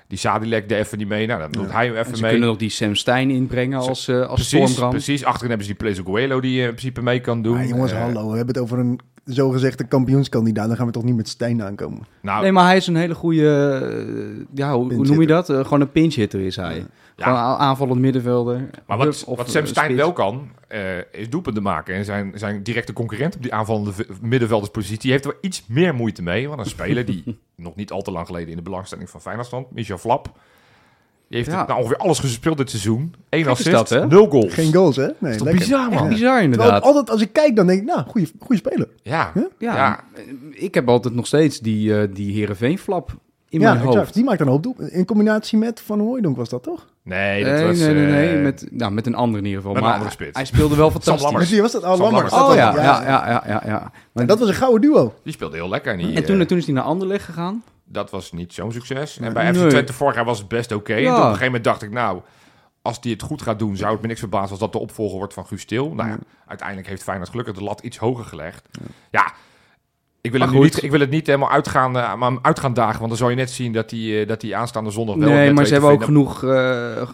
[SPEAKER 2] die Sadilek er even niet mee. Nou, dan doet hij hem
[SPEAKER 1] en
[SPEAKER 2] even
[SPEAKER 1] ze
[SPEAKER 2] mee.
[SPEAKER 1] kunnen nog die Sam Stein inbrengen als, eh als
[SPEAKER 2] Precies,
[SPEAKER 1] stormram.
[SPEAKER 2] precies. Achterin hebben ze die Plezo Coelho die eh, in principe mee kan doen.
[SPEAKER 3] Maar Ah, jongens,
[SPEAKER 2] Eh,
[SPEAKER 3] hallo. We hebben het over een zogezegde kampioenskandidaat. Dan gaan we toch niet met Stijn aankomen.
[SPEAKER 2] nou,
[SPEAKER 1] Nee, maar hij is een hele goede, eh, ja, hoe- hoe, noem je
[SPEAKER 3] Pinch-hitter.
[SPEAKER 1] dat? Eh, gewoon een pinch hitter is hij. Gewoon a- aanvallend middenvelder.
[SPEAKER 2] Maar wat,
[SPEAKER 1] Hup, of,
[SPEAKER 2] wat Sam
[SPEAKER 1] eh,
[SPEAKER 2] Stein
[SPEAKER 1] spits.
[SPEAKER 2] wel kan, eh, is doelpunten maken. En zijn, zijn directe concurrent op die aanvallende v- middenvelderspositie heeft er wel iets meer moeite mee. Want een
[SPEAKER 1] <laughs>
[SPEAKER 2] speler die nog niet al te lang geleden in de belangstelling van Feyenoord stond, Michel Flap. Die heeft
[SPEAKER 1] Ja.
[SPEAKER 2] nou, ongeveer alles gespeeld dit seizoen. Eén
[SPEAKER 1] Kijk eens
[SPEAKER 2] assist,
[SPEAKER 1] dat, hè?
[SPEAKER 2] nul goals.
[SPEAKER 3] Geen goals hè? Nee,
[SPEAKER 2] is toch
[SPEAKER 3] lekker.
[SPEAKER 2] bizar,
[SPEAKER 1] Echt
[SPEAKER 2] man?
[SPEAKER 1] bizar
[SPEAKER 3] Terwijl
[SPEAKER 1] inderdaad.
[SPEAKER 3] altijd als ik kijk, dan denk ik, nou, goede speler.
[SPEAKER 2] Ja,
[SPEAKER 1] Ja, eh,
[SPEAKER 2] ja.
[SPEAKER 1] ik heb altijd nog steeds die, eh die Heerenveen-flap in
[SPEAKER 3] ja,
[SPEAKER 1] mijn
[SPEAKER 3] exact.
[SPEAKER 1] hoofd.
[SPEAKER 3] Die maakt een hoop doelpunten. In combinatie met Van Hooijdonk was dat toch?
[SPEAKER 2] Nee,
[SPEAKER 1] Nee,
[SPEAKER 2] dat
[SPEAKER 1] nee,
[SPEAKER 2] was...
[SPEAKER 1] nee, nee,
[SPEAKER 2] eh,
[SPEAKER 1] Met, nou, met een ander in ieder geval.
[SPEAKER 2] met een
[SPEAKER 1] maar
[SPEAKER 2] andere
[SPEAKER 1] hij-
[SPEAKER 2] spits.
[SPEAKER 1] Hij speelde
[SPEAKER 2] <laughs>
[SPEAKER 1] wel
[SPEAKER 2] Lammers.
[SPEAKER 1] fantastisch.
[SPEAKER 3] Met wie was dat? Oh,
[SPEAKER 2] Sam
[SPEAKER 3] Lammers.
[SPEAKER 2] Lammers.
[SPEAKER 3] Dat
[SPEAKER 1] Oh
[SPEAKER 3] was
[SPEAKER 1] ja,
[SPEAKER 3] het,
[SPEAKER 1] ja, ja, ja, ja. ja. Maar-
[SPEAKER 3] Dat was een gouden duo.
[SPEAKER 2] Die speelde heel lekker. En, die,
[SPEAKER 1] en toen,
[SPEAKER 2] eh,
[SPEAKER 1] toen is hij naar Anderlecht gegaan.
[SPEAKER 2] dat was niet zo'n succes. En bij FC
[SPEAKER 1] Nee.
[SPEAKER 2] Twente vorig jaar was het best oké. En
[SPEAKER 1] Ja.
[SPEAKER 2] toen op een gegeven moment dacht ik, nou, als die het goed gaat doen, zou het me niks verbazen als dat de opvolger wordt van Guus Til. Nou ja, uiteindelijk heeft Feyenoord gelukkig de lat iets hoger gelegd. Ja, ik, wil
[SPEAKER 1] Maar
[SPEAKER 2] het nu
[SPEAKER 1] goed.
[SPEAKER 2] niet, ik wil het niet helemaal uitgaan, eh, maar uitgaan dagen, want dan zal je net zien dat die, eh, dat die aanstaande zondag wel...
[SPEAKER 1] nee,
[SPEAKER 2] net
[SPEAKER 1] maar
[SPEAKER 2] weet
[SPEAKER 1] ze
[SPEAKER 2] te
[SPEAKER 1] hebben ook
[SPEAKER 2] vinden.
[SPEAKER 1] genoeg,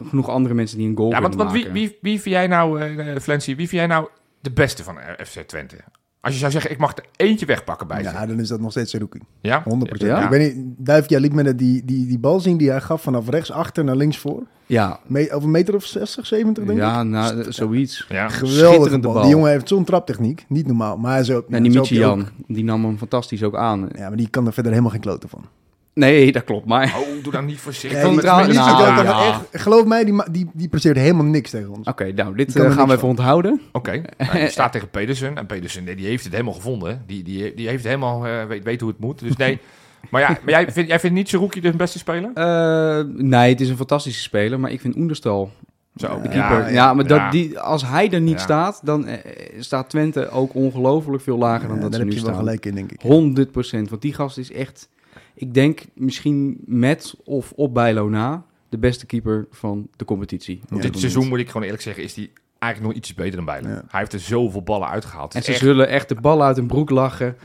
[SPEAKER 1] eh, genoeg andere mensen die een goal
[SPEAKER 2] Ja, want,
[SPEAKER 1] kunnen
[SPEAKER 2] want wie,
[SPEAKER 1] maken.
[SPEAKER 2] wie, wie vind jij nou, eh Flensie, wie vind jij nou de beste van eh, FC Twente? Als je zou zeggen, ik mag er eentje wegpakken bij ze.
[SPEAKER 3] Ja, dan is dat nog steeds Zerouki. 100%.
[SPEAKER 2] Ja?
[SPEAKER 1] Ja.
[SPEAKER 3] Ik weet niet, Duif, jij liet me net die, die, die bal zien die hij gaf vanaf rechts achter naar links voor.
[SPEAKER 1] Ja,
[SPEAKER 3] Me, over een meter of 60, 70 denk ik.
[SPEAKER 1] ja nou, eh, zoiets.
[SPEAKER 2] Ja.
[SPEAKER 3] Geweldige
[SPEAKER 1] schitterende
[SPEAKER 3] bal.
[SPEAKER 1] bal.
[SPEAKER 3] Die jongen heeft zo'n traptechniek. Niet normaal. Maar zo,
[SPEAKER 1] En die
[SPEAKER 3] zo heb je ook-
[SPEAKER 1] Michian, die nam hem fantastisch ook aan.
[SPEAKER 3] Ja, maar die kan er verder helemaal geen kloten van.
[SPEAKER 1] Nee, <laughs> dat klopt, maar...
[SPEAKER 2] Oh, doe dan niet voorzichtig.
[SPEAKER 1] vond
[SPEAKER 3] die-
[SPEAKER 1] het trouwens-
[SPEAKER 3] die- die- die-
[SPEAKER 1] nou,
[SPEAKER 3] die- die-
[SPEAKER 1] ja.
[SPEAKER 3] echt- Geloof mij, die, ma- die, die presteert helemaal niks tegen ons.
[SPEAKER 1] Oké, nou, dit
[SPEAKER 3] Ik kan
[SPEAKER 1] eh,
[SPEAKER 3] er
[SPEAKER 1] gaan we
[SPEAKER 3] niks
[SPEAKER 1] even onthouden.
[SPEAKER 2] Oké,
[SPEAKER 1] Eh, <laughs>
[SPEAKER 2] nou, die staat tegen Pedersen. En Pedersen nee, die heeft het helemaal gevonden. hè. Die, die, die heeft helemaal, eh, weet, weet hoe het moet. Dus
[SPEAKER 1] <laughs>
[SPEAKER 2] nee. Maar ja, maar jij, vindt, jij vindt niet Seruki de beste speler?
[SPEAKER 1] Eh, nee, het is een fantastische speler, maar ik vind Oenderstal,
[SPEAKER 2] Zo,
[SPEAKER 1] de keeper... Ja,
[SPEAKER 3] ja.
[SPEAKER 1] maar
[SPEAKER 2] Ja.
[SPEAKER 1] dat, die, als hij er niet
[SPEAKER 2] Ja.
[SPEAKER 1] staat, dan eh, staat Twente ook ongelooflijk veel lager dan
[SPEAKER 3] Ja,
[SPEAKER 1] dat
[SPEAKER 3] daar
[SPEAKER 1] ze
[SPEAKER 3] heb
[SPEAKER 1] nu
[SPEAKER 3] je wel
[SPEAKER 1] staan.
[SPEAKER 3] gelijk in, denk ik.
[SPEAKER 1] 100 Want die gast is echt, ik denk misschien met of op Bijlo na, de beste keeper van de competitie. op
[SPEAKER 2] Dit
[SPEAKER 1] moment.
[SPEAKER 2] seizoen moet ik gewoon eerlijk zeggen, is die eigenlijk nog iets beter dan Bijlen.
[SPEAKER 3] Ja.
[SPEAKER 2] Hij heeft er zoveel ballen uitgehaald.
[SPEAKER 1] En
[SPEAKER 2] Het
[SPEAKER 1] ze
[SPEAKER 2] is echt-
[SPEAKER 1] zullen echt de ballen uit hun broek lachen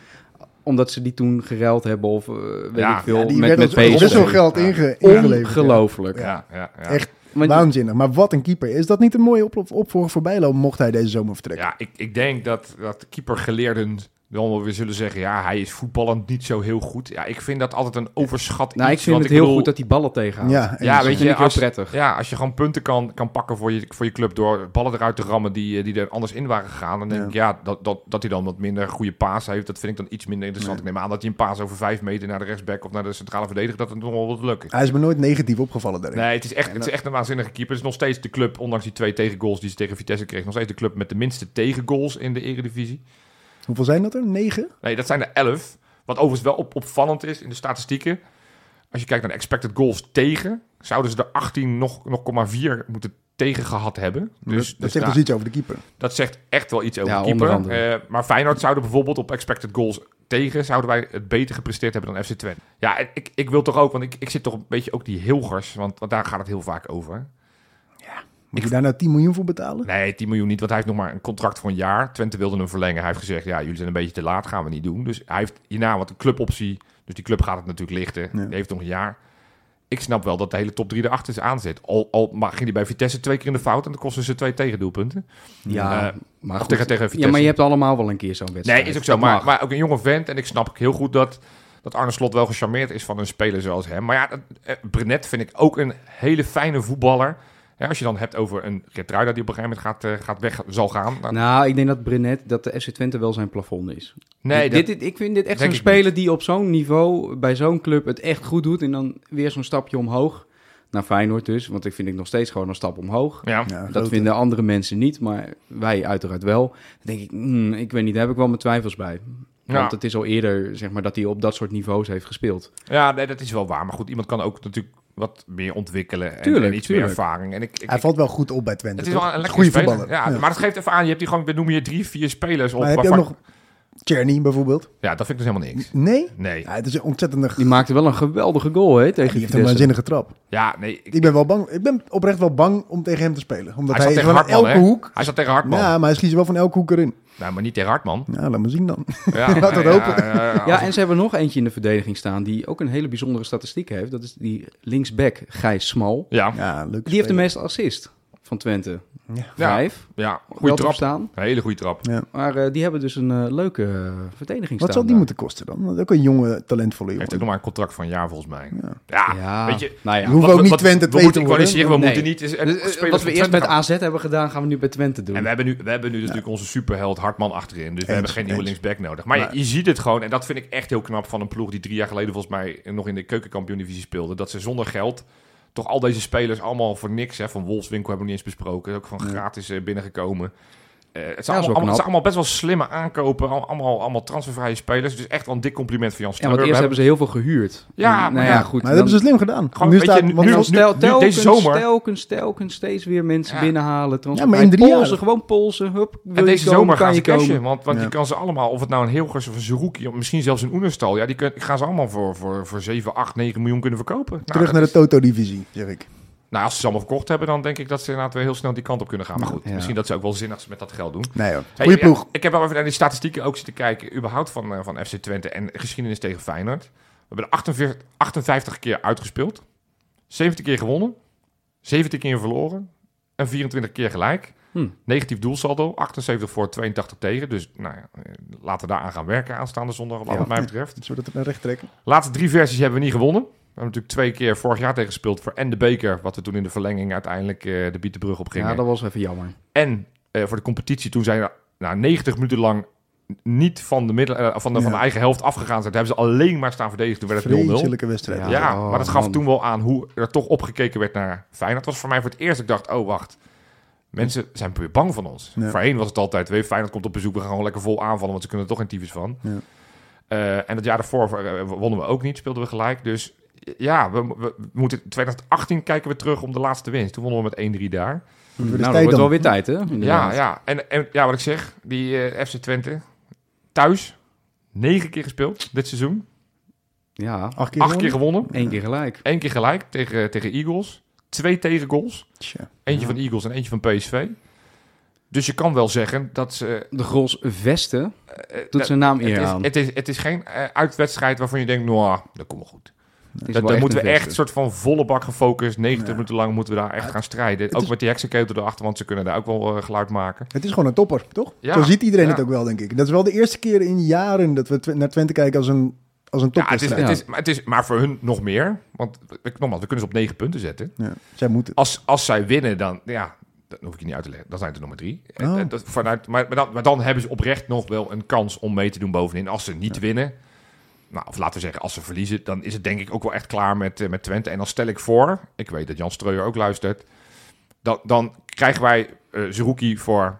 [SPEAKER 1] omdat ze die toen gereld hebben of eh, weet
[SPEAKER 2] Ja.
[SPEAKER 1] ik veel,
[SPEAKER 3] Ja, die
[SPEAKER 1] met,
[SPEAKER 3] werd
[SPEAKER 1] met
[SPEAKER 3] met ons best wel
[SPEAKER 1] PSV.
[SPEAKER 3] geld inge ingeleverd. ja.
[SPEAKER 1] Ongelooflijk. nou,
[SPEAKER 2] ja, ja, ja.
[SPEAKER 3] Echt
[SPEAKER 1] Maar-
[SPEAKER 3] waanzinnig. Maar wat een keeper. Is dat niet een mooie op opvolger voor Bijlo mocht hij deze zomer vertrekken?
[SPEAKER 2] ja ik, ik denk dat, dat keepergeleerden Dan wel weer zullen zeggen, ja, hij is voetballend niet zo heel goed. Ja, ik vind dat altijd een overschat
[SPEAKER 1] Nou,
[SPEAKER 2] iets,
[SPEAKER 1] ik vind
[SPEAKER 2] want
[SPEAKER 1] het heel
[SPEAKER 2] bedoel-
[SPEAKER 1] goed dat die ballen tegenhoudt.
[SPEAKER 3] Ja,
[SPEAKER 2] Ja, weet
[SPEAKER 1] vind
[SPEAKER 2] je,
[SPEAKER 1] ik heel
[SPEAKER 2] als,
[SPEAKER 1] prettig.
[SPEAKER 2] Ja, als je gewoon punten kan, kan pakken voor je, voor je club door ballen eruit te rammen die, eh, die er anders in waren gegaan, dan denk
[SPEAKER 3] Ja.
[SPEAKER 2] ik ja, dat, dat, dat hij dan wat minder goede paas heeft, dat vind ik dan iets minder interessant. Ik neem aan dat hij een paas over vijf meter naar de rechtsback of naar de centrale verdediger, dat het nog wel wat lukken.
[SPEAKER 3] Hij is me nooit negatief opgevallen daarin.
[SPEAKER 2] Nee, het is, echt, het is echt een waanzinnige keeper. Het is nog steeds de club, ondanks die twee tegengoals die ze tegen Vitesse kreeg, nog steeds de club met de minste tegengoals in de eredivisie.
[SPEAKER 3] Hoeveel zijn dat er? Negen?
[SPEAKER 2] Nee, dat zijn er 11. Wat overigens wel op, opvallend is in de statistieken. Als je kijkt naar de expected goals tegen, zouden ze er 18 nog, nog 0,4 moeten tegen gehad hebben. Dus,
[SPEAKER 3] dat
[SPEAKER 2] dus
[SPEAKER 3] zegt
[SPEAKER 2] nou,
[SPEAKER 3] dus iets over de keeper.
[SPEAKER 2] dat zegt echt wel iets over
[SPEAKER 1] Ja,
[SPEAKER 2] de keeper.
[SPEAKER 1] onder andere.
[SPEAKER 2] Eh, maar Feyenoord zouden bijvoorbeeld op expected goals tegen, zouden wij het beter gepresteerd hebben dan FC Twente. Ja, en ik, ik wil toch ook, want ik, ik zit toch een beetje ook die Hilgers, want, want daar gaat het heel vaak over.
[SPEAKER 3] Moet je daar nou 10 miljoen voor betalen?
[SPEAKER 2] Nee, 10 miljoen niet, want hij heeft nog maar een contract voor een jaar. Twente wilde hem verlengen. Hij heeft gezegd, ja, jullie zijn een beetje te laat, gaan we niet doen. Dus hij heeft hierna wat een cluboptie. Dus die club gaat het natuurlijk lichten. Die heeft nog een jaar. Ik snap wel dat de hele top 3 erachter is aanzet. Al, al maar ging hij bij Vitesse twee keer in de fout en dan kostte ze twee tegendoelpunten.
[SPEAKER 1] Ja,
[SPEAKER 2] Eh,
[SPEAKER 1] maar
[SPEAKER 2] of
[SPEAKER 1] goed.
[SPEAKER 2] tegen- tegen
[SPEAKER 1] Ja, maar
[SPEAKER 2] Vitesse.
[SPEAKER 1] je hebt allemaal wel een keer zo'n wedstrijd.
[SPEAKER 2] Nee, is ook zo.
[SPEAKER 1] Dat
[SPEAKER 2] Maar,
[SPEAKER 1] mag.
[SPEAKER 2] maar ook een jonge vent. En ik snap heel goed dat, dat Arne Slot wel gecharmeerd is van een speler zoals hem. Maar ja, dat, eh, Brenet vind ik ook een hele fijne voetballer. Ja, als je dan hebt over een Gertruida die op een gegeven moment gaat, eh, gaat weg zal gaan. dan-
[SPEAKER 1] Nou, ik denk dat Brenet, dat de FC Twente wel zijn plafond is.
[SPEAKER 2] nee,
[SPEAKER 1] dit,
[SPEAKER 2] dat-
[SPEAKER 1] dit- ik vind dit echt
[SPEAKER 2] denk
[SPEAKER 1] zo'n
[SPEAKER 2] ik
[SPEAKER 1] speler die op zo'n niveau, bij zo'n club, het echt goed doet. En dan weer zo'n stapje omhoog. Naar Feyenoord dus, want ik vind ik nog steeds gewoon een stap omhoog.
[SPEAKER 2] ja.
[SPEAKER 3] Ja,
[SPEAKER 1] Dat
[SPEAKER 3] grote.
[SPEAKER 1] vinden andere mensen niet, maar wij uiteraard wel. Dan denk ik, hmm, ik weet niet, daar heb ik wel mijn twijfels bij. Want
[SPEAKER 2] Ja.
[SPEAKER 1] het is al eerder, zeg maar, dat hij op dat soort niveaus heeft gespeeld.
[SPEAKER 2] Ja, nee, dat is wel waar. Maar goed, iemand kan ook natuurlijk wat meer ontwikkelen en,
[SPEAKER 1] Tuurlijk,
[SPEAKER 2] en iets
[SPEAKER 1] tuurlijk.
[SPEAKER 2] meer ervaring. En ik, ik,
[SPEAKER 3] Hij
[SPEAKER 2] ik-
[SPEAKER 3] valt wel goed op bij Twente.
[SPEAKER 2] het is
[SPEAKER 3] toch?
[SPEAKER 2] wel een lekkere
[SPEAKER 3] goede
[SPEAKER 2] speler.
[SPEAKER 3] voetballer.
[SPEAKER 2] Ja, maar dat geeft even aan. Je hebt die gewoon, we noemen hier drie, vier spelers op.
[SPEAKER 3] Maar heb je ook
[SPEAKER 2] waarvan-
[SPEAKER 3] nog Tierney bijvoorbeeld?
[SPEAKER 2] Ja, dat vind ik dus helemaal niks.
[SPEAKER 3] Nee?
[SPEAKER 2] Nee.
[SPEAKER 3] Ja, het is een ontzettende...
[SPEAKER 1] Die maakte wel een geweldige goal, hè,
[SPEAKER 3] Die
[SPEAKER 1] tegen
[SPEAKER 3] heeft een
[SPEAKER 1] Vitesse.
[SPEAKER 3] waanzinnige trap.
[SPEAKER 2] Ja, nee. dus, Ik,
[SPEAKER 3] Ik ben, wel bang, ik ben oprecht wel bang om tegen hem te spelen. Omdat
[SPEAKER 2] hij zat tegen
[SPEAKER 3] hij, gewoon
[SPEAKER 2] Hartman,
[SPEAKER 3] elke
[SPEAKER 2] hè?
[SPEAKER 3] hoek...
[SPEAKER 2] Hij zat tegen Hartman.
[SPEAKER 3] Ja, maar hij schiet ze wel van elke hoek erin.
[SPEAKER 2] Nou, maar niet tegen
[SPEAKER 3] <laughs>
[SPEAKER 2] Hartman.
[SPEAKER 3] Nou, laat maar zien dan.
[SPEAKER 2] Ja,
[SPEAKER 3] Laat dat
[SPEAKER 2] ja,
[SPEAKER 3] hopen.
[SPEAKER 2] ja, ja, ja.
[SPEAKER 1] Ja, en ze hebben nog eentje in de verdediging staan die ook een hele bijzondere statistiek heeft. Dat is die linksback Gijs Smal.
[SPEAKER 2] Ja,
[SPEAKER 3] Ja, leuk.
[SPEAKER 1] Die heeft de meeste assist van Twente. Vijf.
[SPEAKER 2] ja. goede
[SPEAKER 1] Goeie trap.
[SPEAKER 2] trap.
[SPEAKER 1] staan.
[SPEAKER 2] Een hele goede trap.
[SPEAKER 1] Maar eh, die hebben dus een eh, leuke eh, verdediging
[SPEAKER 3] Wat
[SPEAKER 1] staan.
[SPEAKER 3] zal die moeten kosten dan? Want Ook een jonge, talentvolle
[SPEAKER 2] Hij heeft ook
[SPEAKER 3] jongen.
[SPEAKER 2] nog maar een contract van een jaar volgens mij. Ja,
[SPEAKER 1] Ja,
[SPEAKER 2] weet je.
[SPEAKER 1] nou ja.
[SPEAKER 3] Hoe- hoeven ook niet Twente
[SPEAKER 2] we
[SPEAKER 3] twee
[SPEAKER 2] moeten,
[SPEAKER 3] te
[SPEAKER 2] Ik wou niet
[SPEAKER 3] worden.
[SPEAKER 2] zeggen, we
[SPEAKER 1] Nee.
[SPEAKER 2] moeten niet... Is,
[SPEAKER 1] Dus, eh, wat we eerst met AZ hebben gedaan, gaan we nu bij Twente doen.
[SPEAKER 2] En we hebben nu, we hebben nu natuurlijk onze superheld Hartman achterin. Dus we
[SPEAKER 3] Eens,
[SPEAKER 2] hebben geen nieuwe
[SPEAKER 3] eens.
[SPEAKER 2] linksback nodig. Maar,
[SPEAKER 3] Maar-
[SPEAKER 2] je, je ziet het gewoon. En dat vind ik echt heel knap van een ploeg die drie jaar geleden volgens mij nog in de keukenkampioen-divisie speelde. Dat ze zonder geld toch al deze spelers allemaal voor niks. Hè, van Wolfswinkel hebben we niet eens besproken. Ook van gratis eh, binnengekomen. Eh, het, zijn
[SPEAKER 1] Ja, dat is
[SPEAKER 2] allemaal,
[SPEAKER 1] wel
[SPEAKER 2] allemaal- het
[SPEAKER 1] knap.
[SPEAKER 2] zijn allemaal best wel slimme aankopen. Al- Allemaal, allemaal transfervrije spelers. Dus echt wel een dik compliment van Jan
[SPEAKER 1] ja,
[SPEAKER 2] Streur.
[SPEAKER 1] want
[SPEAKER 2] We
[SPEAKER 1] eerst
[SPEAKER 2] hebben-
[SPEAKER 1] hebben ze heel veel gehuurd.
[SPEAKER 2] Ja,
[SPEAKER 1] En,
[SPEAKER 2] maar
[SPEAKER 1] nou
[SPEAKER 2] ja,
[SPEAKER 1] ja, goed.
[SPEAKER 3] Maar dat
[SPEAKER 1] dan-
[SPEAKER 3] hebben ze slim gedaan.
[SPEAKER 2] Gewoon,
[SPEAKER 3] nu
[SPEAKER 2] weet
[SPEAKER 3] staat,
[SPEAKER 2] je, nu-
[SPEAKER 3] want-
[SPEAKER 1] en dan
[SPEAKER 2] nu-
[SPEAKER 1] stel,
[SPEAKER 2] nu-
[SPEAKER 1] telkens,
[SPEAKER 2] deze zomer-
[SPEAKER 1] telkens, telkens steeds weer mensen
[SPEAKER 2] Ja.
[SPEAKER 1] binnenhalen. Transfer,
[SPEAKER 3] Ja, maar in drie
[SPEAKER 1] Polsen,
[SPEAKER 3] jaar.
[SPEAKER 1] gewoon Polsen. Hup, wil
[SPEAKER 2] En
[SPEAKER 1] je
[SPEAKER 2] deze
[SPEAKER 1] komen,
[SPEAKER 2] zomer
[SPEAKER 1] kan
[SPEAKER 2] gaan
[SPEAKER 1] je
[SPEAKER 2] ze
[SPEAKER 1] komen.
[SPEAKER 2] cashen, want, want je kan ze allemaal, of het nou een Hilgers of een Zerouki, of misschien zelfs een Oenerstal, ja, die kun- gaan ze allemaal voor, voor, voor 7, 8, 9 miljoen kunnen verkopen. Nou,
[SPEAKER 3] Terug
[SPEAKER 2] dat
[SPEAKER 3] naar de
[SPEAKER 2] is-
[SPEAKER 3] Toto-divisie, zeg ik.
[SPEAKER 2] Nou, als ze ze allemaal verkocht hebben, dan denk ik dat ze inderdaad weer heel snel die kant op kunnen gaan. Maar goed,
[SPEAKER 1] Ja.
[SPEAKER 2] misschien dat ze ook wel zinnigs met dat geld doen.
[SPEAKER 3] Nee hoor.
[SPEAKER 2] Hey,
[SPEAKER 3] Goeie
[SPEAKER 2] ja,
[SPEAKER 3] ploeg.
[SPEAKER 2] ik heb wel even naar die statistieken ook zitten kijken, überhaupt van, eh, van FC Twente en geschiedenis tegen Feyenoord. We hebben er 48, 58 keer uitgespeeld, 70 keer gewonnen, 17 keer verloren en 24 keer gelijk.
[SPEAKER 1] Hm.
[SPEAKER 2] Negatief doelsaldo, 78 voor, 82 tegen. Dus nou ja, eh, laten we daar aan gaan werken aanstaande zondag, wat
[SPEAKER 1] Ja.
[SPEAKER 2] wat mij betreft.
[SPEAKER 3] Zodat we het naar recht trekken.
[SPEAKER 2] Laatste drie versies hebben we niet gewonnen. We hebben natuurlijk twee keer vorig jaar tegen gespeeld voor en de beker, wat we toen in de verlenging uiteindelijk eh, de Bietenbrug op gingen.
[SPEAKER 1] Ja, dat was even jammer.
[SPEAKER 2] En eh, voor de competitie, toen zijn er nou, 90 minuten lang niet van de, middel, eh, van de, van de
[SPEAKER 3] Ja.
[SPEAKER 2] eigen helft afgegaan. zijn. Daar hebben ze alleen maar staan verdedigen. Toen werd het 0-0.
[SPEAKER 3] Vreselijke wedstrijd.
[SPEAKER 1] Ja.
[SPEAKER 2] Ja,
[SPEAKER 1] Oh,
[SPEAKER 2] maar dat gaf
[SPEAKER 1] man.
[SPEAKER 2] toen wel aan hoe er toch opgekeken werd naar Feyenoord. Dat was voor mij voor het eerst. dat Ik dacht, oh wacht, mensen zijn weer bang van ons.
[SPEAKER 3] Ja.
[SPEAKER 2] Voorheen was het altijd, weet je, Feyenoord komt op bezoek. We gaan gewoon lekker vol aanvallen, want ze kunnen er toch geen tyfus van.
[SPEAKER 3] Ja.
[SPEAKER 2] Eh, en dat jaar daarvoor eh, wonnen we ook niet, speelden we gelijk. Dus ja, we, we, we moeten 2018 kijken we terug om de laatste winst. Toen wonnen we met 1-3 daar.
[SPEAKER 3] Wordt het
[SPEAKER 1] Nou, dat
[SPEAKER 3] tijd
[SPEAKER 1] wordt
[SPEAKER 3] dan.
[SPEAKER 1] wel weer tijd, hè?
[SPEAKER 2] Ja,
[SPEAKER 1] inderdaad.
[SPEAKER 2] ja. En, en ja, wat ik zeg, die eh, FC Twente thuis negen keer gespeeld dit seizoen,
[SPEAKER 1] Ja,
[SPEAKER 3] Acht keer
[SPEAKER 2] acht keer
[SPEAKER 3] gewonnen.
[SPEAKER 2] gewonnen,
[SPEAKER 1] één keer gelijk.
[SPEAKER 2] één keer gelijk tegen, tegen Eagles, twee tegengoals,
[SPEAKER 3] Tja.
[SPEAKER 2] eentje van Eagles en eentje van PSV. Dus je kan wel zeggen dat ze.
[SPEAKER 1] De Gros Vesten
[SPEAKER 2] eh, eh,
[SPEAKER 1] doet zijn naam eer
[SPEAKER 2] het,
[SPEAKER 1] aan.
[SPEAKER 2] is, het, is, het is geen eh, uitwedstrijd waarvan je denkt, nou, dat komt wel goed.
[SPEAKER 1] Het is
[SPEAKER 2] Dat,
[SPEAKER 1] wel
[SPEAKER 2] daar moeten
[SPEAKER 1] een
[SPEAKER 2] we echt
[SPEAKER 1] vechter.
[SPEAKER 2] soort van volle bak gefocust, 90 minuten lang moeten we daar echt gaan strijden. Ook
[SPEAKER 3] is-
[SPEAKER 2] met die heksenketel erachter, want ze kunnen daar ook wel eh, geluid maken.
[SPEAKER 3] Het is gewoon een topper, toch?
[SPEAKER 2] Ja.
[SPEAKER 3] Zo ziet iedereen
[SPEAKER 2] Ja.
[SPEAKER 3] het ook wel, denk ik. Dat is wel de eerste keer in jaren dat we Twe- naar Twente kijken als een, als een
[SPEAKER 2] Ja, het is,
[SPEAKER 3] topwedstrijd.
[SPEAKER 2] het is, maar, het is, maar voor hun nog meer, want ik- nogmaals, we kunnen ze op 9 punten zetten.
[SPEAKER 3] Ja, Zij moeten.
[SPEAKER 2] Als, als zij winnen, dan ja, dat hoef ik je niet uit te leggen. Dan zijn het er nummer drie. En-
[SPEAKER 3] Oh.
[SPEAKER 2] en dat, vanuit, maar, maar, dan, maar dan hebben ze oprecht nog wel een kans om mee te doen bovenin. Als ze niet winnen, nou, of laten we zeggen, als ze verliezen, dan is het denk ik ook wel echt klaar met, eh, met Twente. En dan stel ik voor, ik weet dat Jan Streuer ook luistert, dan, dan krijgen wij eh Zerouki voor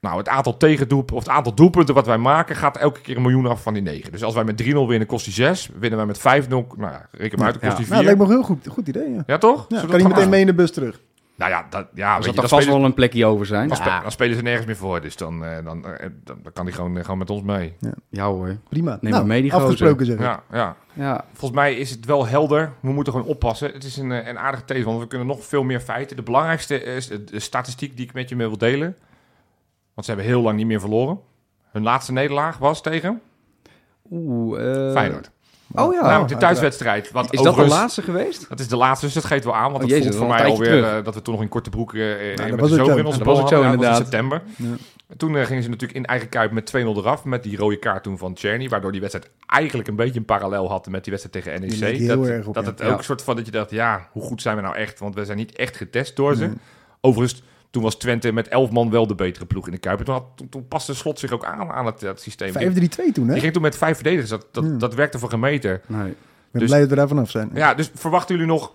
[SPEAKER 2] nou, het aantal tegendoelpunten, of het aantal doelpunten wat wij maken, gaat elke keer een miljoen af van die negen. Dus als wij met 3-0 winnen, kost die 6. Winnen wij met 5-0, nou ja, reken maar uit, dan kost
[SPEAKER 1] Ja.
[SPEAKER 2] die 4.
[SPEAKER 3] Nou, lijkt me een heel goed, goed idee. Ja.
[SPEAKER 2] Ja, toch?
[SPEAKER 3] Ja,
[SPEAKER 2] Zullen we
[SPEAKER 3] kan
[SPEAKER 2] dat
[SPEAKER 3] hij
[SPEAKER 2] gaan
[SPEAKER 3] meteen
[SPEAKER 2] doen?
[SPEAKER 3] mee in de bus terug?
[SPEAKER 2] Nou ja, dat, ja
[SPEAKER 1] Er
[SPEAKER 2] weet
[SPEAKER 1] zal
[SPEAKER 2] je,
[SPEAKER 1] toch
[SPEAKER 2] dan,
[SPEAKER 1] vast
[SPEAKER 2] spelen,
[SPEAKER 1] wel een plekje over zijn.
[SPEAKER 2] dan,
[SPEAKER 1] Ja,
[SPEAKER 2] spe- dan spelen ze nergens meer voor. Dus dan, eh, dan, eh, dan, dan kan hij gewoon, eh, gewoon met ons mee.
[SPEAKER 1] hoor.
[SPEAKER 3] Prima. Nou,
[SPEAKER 1] Neem maar mee, die gozer.
[SPEAKER 3] afgesproken zeg ik.
[SPEAKER 2] Ja, ja.
[SPEAKER 1] Ja,
[SPEAKER 2] Volgens mij is het wel helder. We moeten gewoon oppassen. Het is een, eh, een aardige these, want we kunnen nog veel meer feiten. De belangrijkste eh, is de statistiek die ik met je mee wil delen. Want ze hebben heel lang niet meer verloren. Hun laatste nederlaag was tegen
[SPEAKER 1] Oeh, eh,
[SPEAKER 2] Feyenoord.
[SPEAKER 1] Oh ja.
[SPEAKER 2] Namelijk de thuiswedstrijd. Want
[SPEAKER 1] is dat de
[SPEAKER 2] overigens-
[SPEAKER 1] laatste geweest?
[SPEAKER 2] Dat is de laatste, dus dat geeft wel aan. Want
[SPEAKER 1] Oh,
[SPEAKER 2] dat
[SPEAKER 1] jezus,
[SPEAKER 2] voelt voor
[SPEAKER 1] dat is
[SPEAKER 2] mij
[SPEAKER 1] al een
[SPEAKER 2] alweer
[SPEAKER 1] tijdje
[SPEAKER 2] eh, dat we toen nog in korte broek eh, eh,
[SPEAKER 3] Nou, dat
[SPEAKER 2] met
[SPEAKER 3] was
[SPEAKER 2] de
[SPEAKER 3] het
[SPEAKER 2] zomer
[SPEAKER 3] zo.
[SPEAKER 2] in onze
[SPEAKER 1] Ja,
[SPEAKER 2] bal
[SPEAKER 1] dat was het zo,
[SPEAKER 2] hadden. Ja, dat was in september.
[SPEAKER 3] inderdaad.
[SPEAKER 2] Toen eh, gingen ze natuurlijk in eigen kuip met 2-0 eraf. Met die rode kaart toen van Czerny. Waardoor die wedstrijd eigenlijk een beetje een parallel had met die wedstrijd tegen
[SPEAKER 3] Die
[SPEAKER 2] NEC.
[SPEAKER 3] leek heel
[SPEAKER 2] dat
[SPEAKER 3] erg op,
[SPEAKER 2] dat
[SPEAKER 3] ja.
[SPEAKER 2] het
[SPEAKER 1] Ja.
[SPEAKER 2] ook een soort van dat je dacht, ja, hoe goed zijn we nou echt? Want we zijn niet echt getest door ze. Overigens, toen was Twente met 11 man wel de betere ploeg in de kuip. En toen, had, toen, toen paste Slot zich ook aan aan het, dat systeem. Die,
[SPEAKER 3] 5-3-2 toen, hè?
[SPEAKER 2] die
[SPEAKER 3] Ik
[SPEAKER 2] ging toen met vijf verdedigers. Dat, dat,
[SPEAKER 3] Hmm.
[SPEAKER 2] dat werkte voor geen meter.
[SPEAKER 1] Nee.
[SPEAKER 3] ben
[SPEAKER 2] dus-
[SPEAKER 3] blij dat we daar vanaf zijn.
[SPEAKER 2] Ja, dus verwachten jullie nog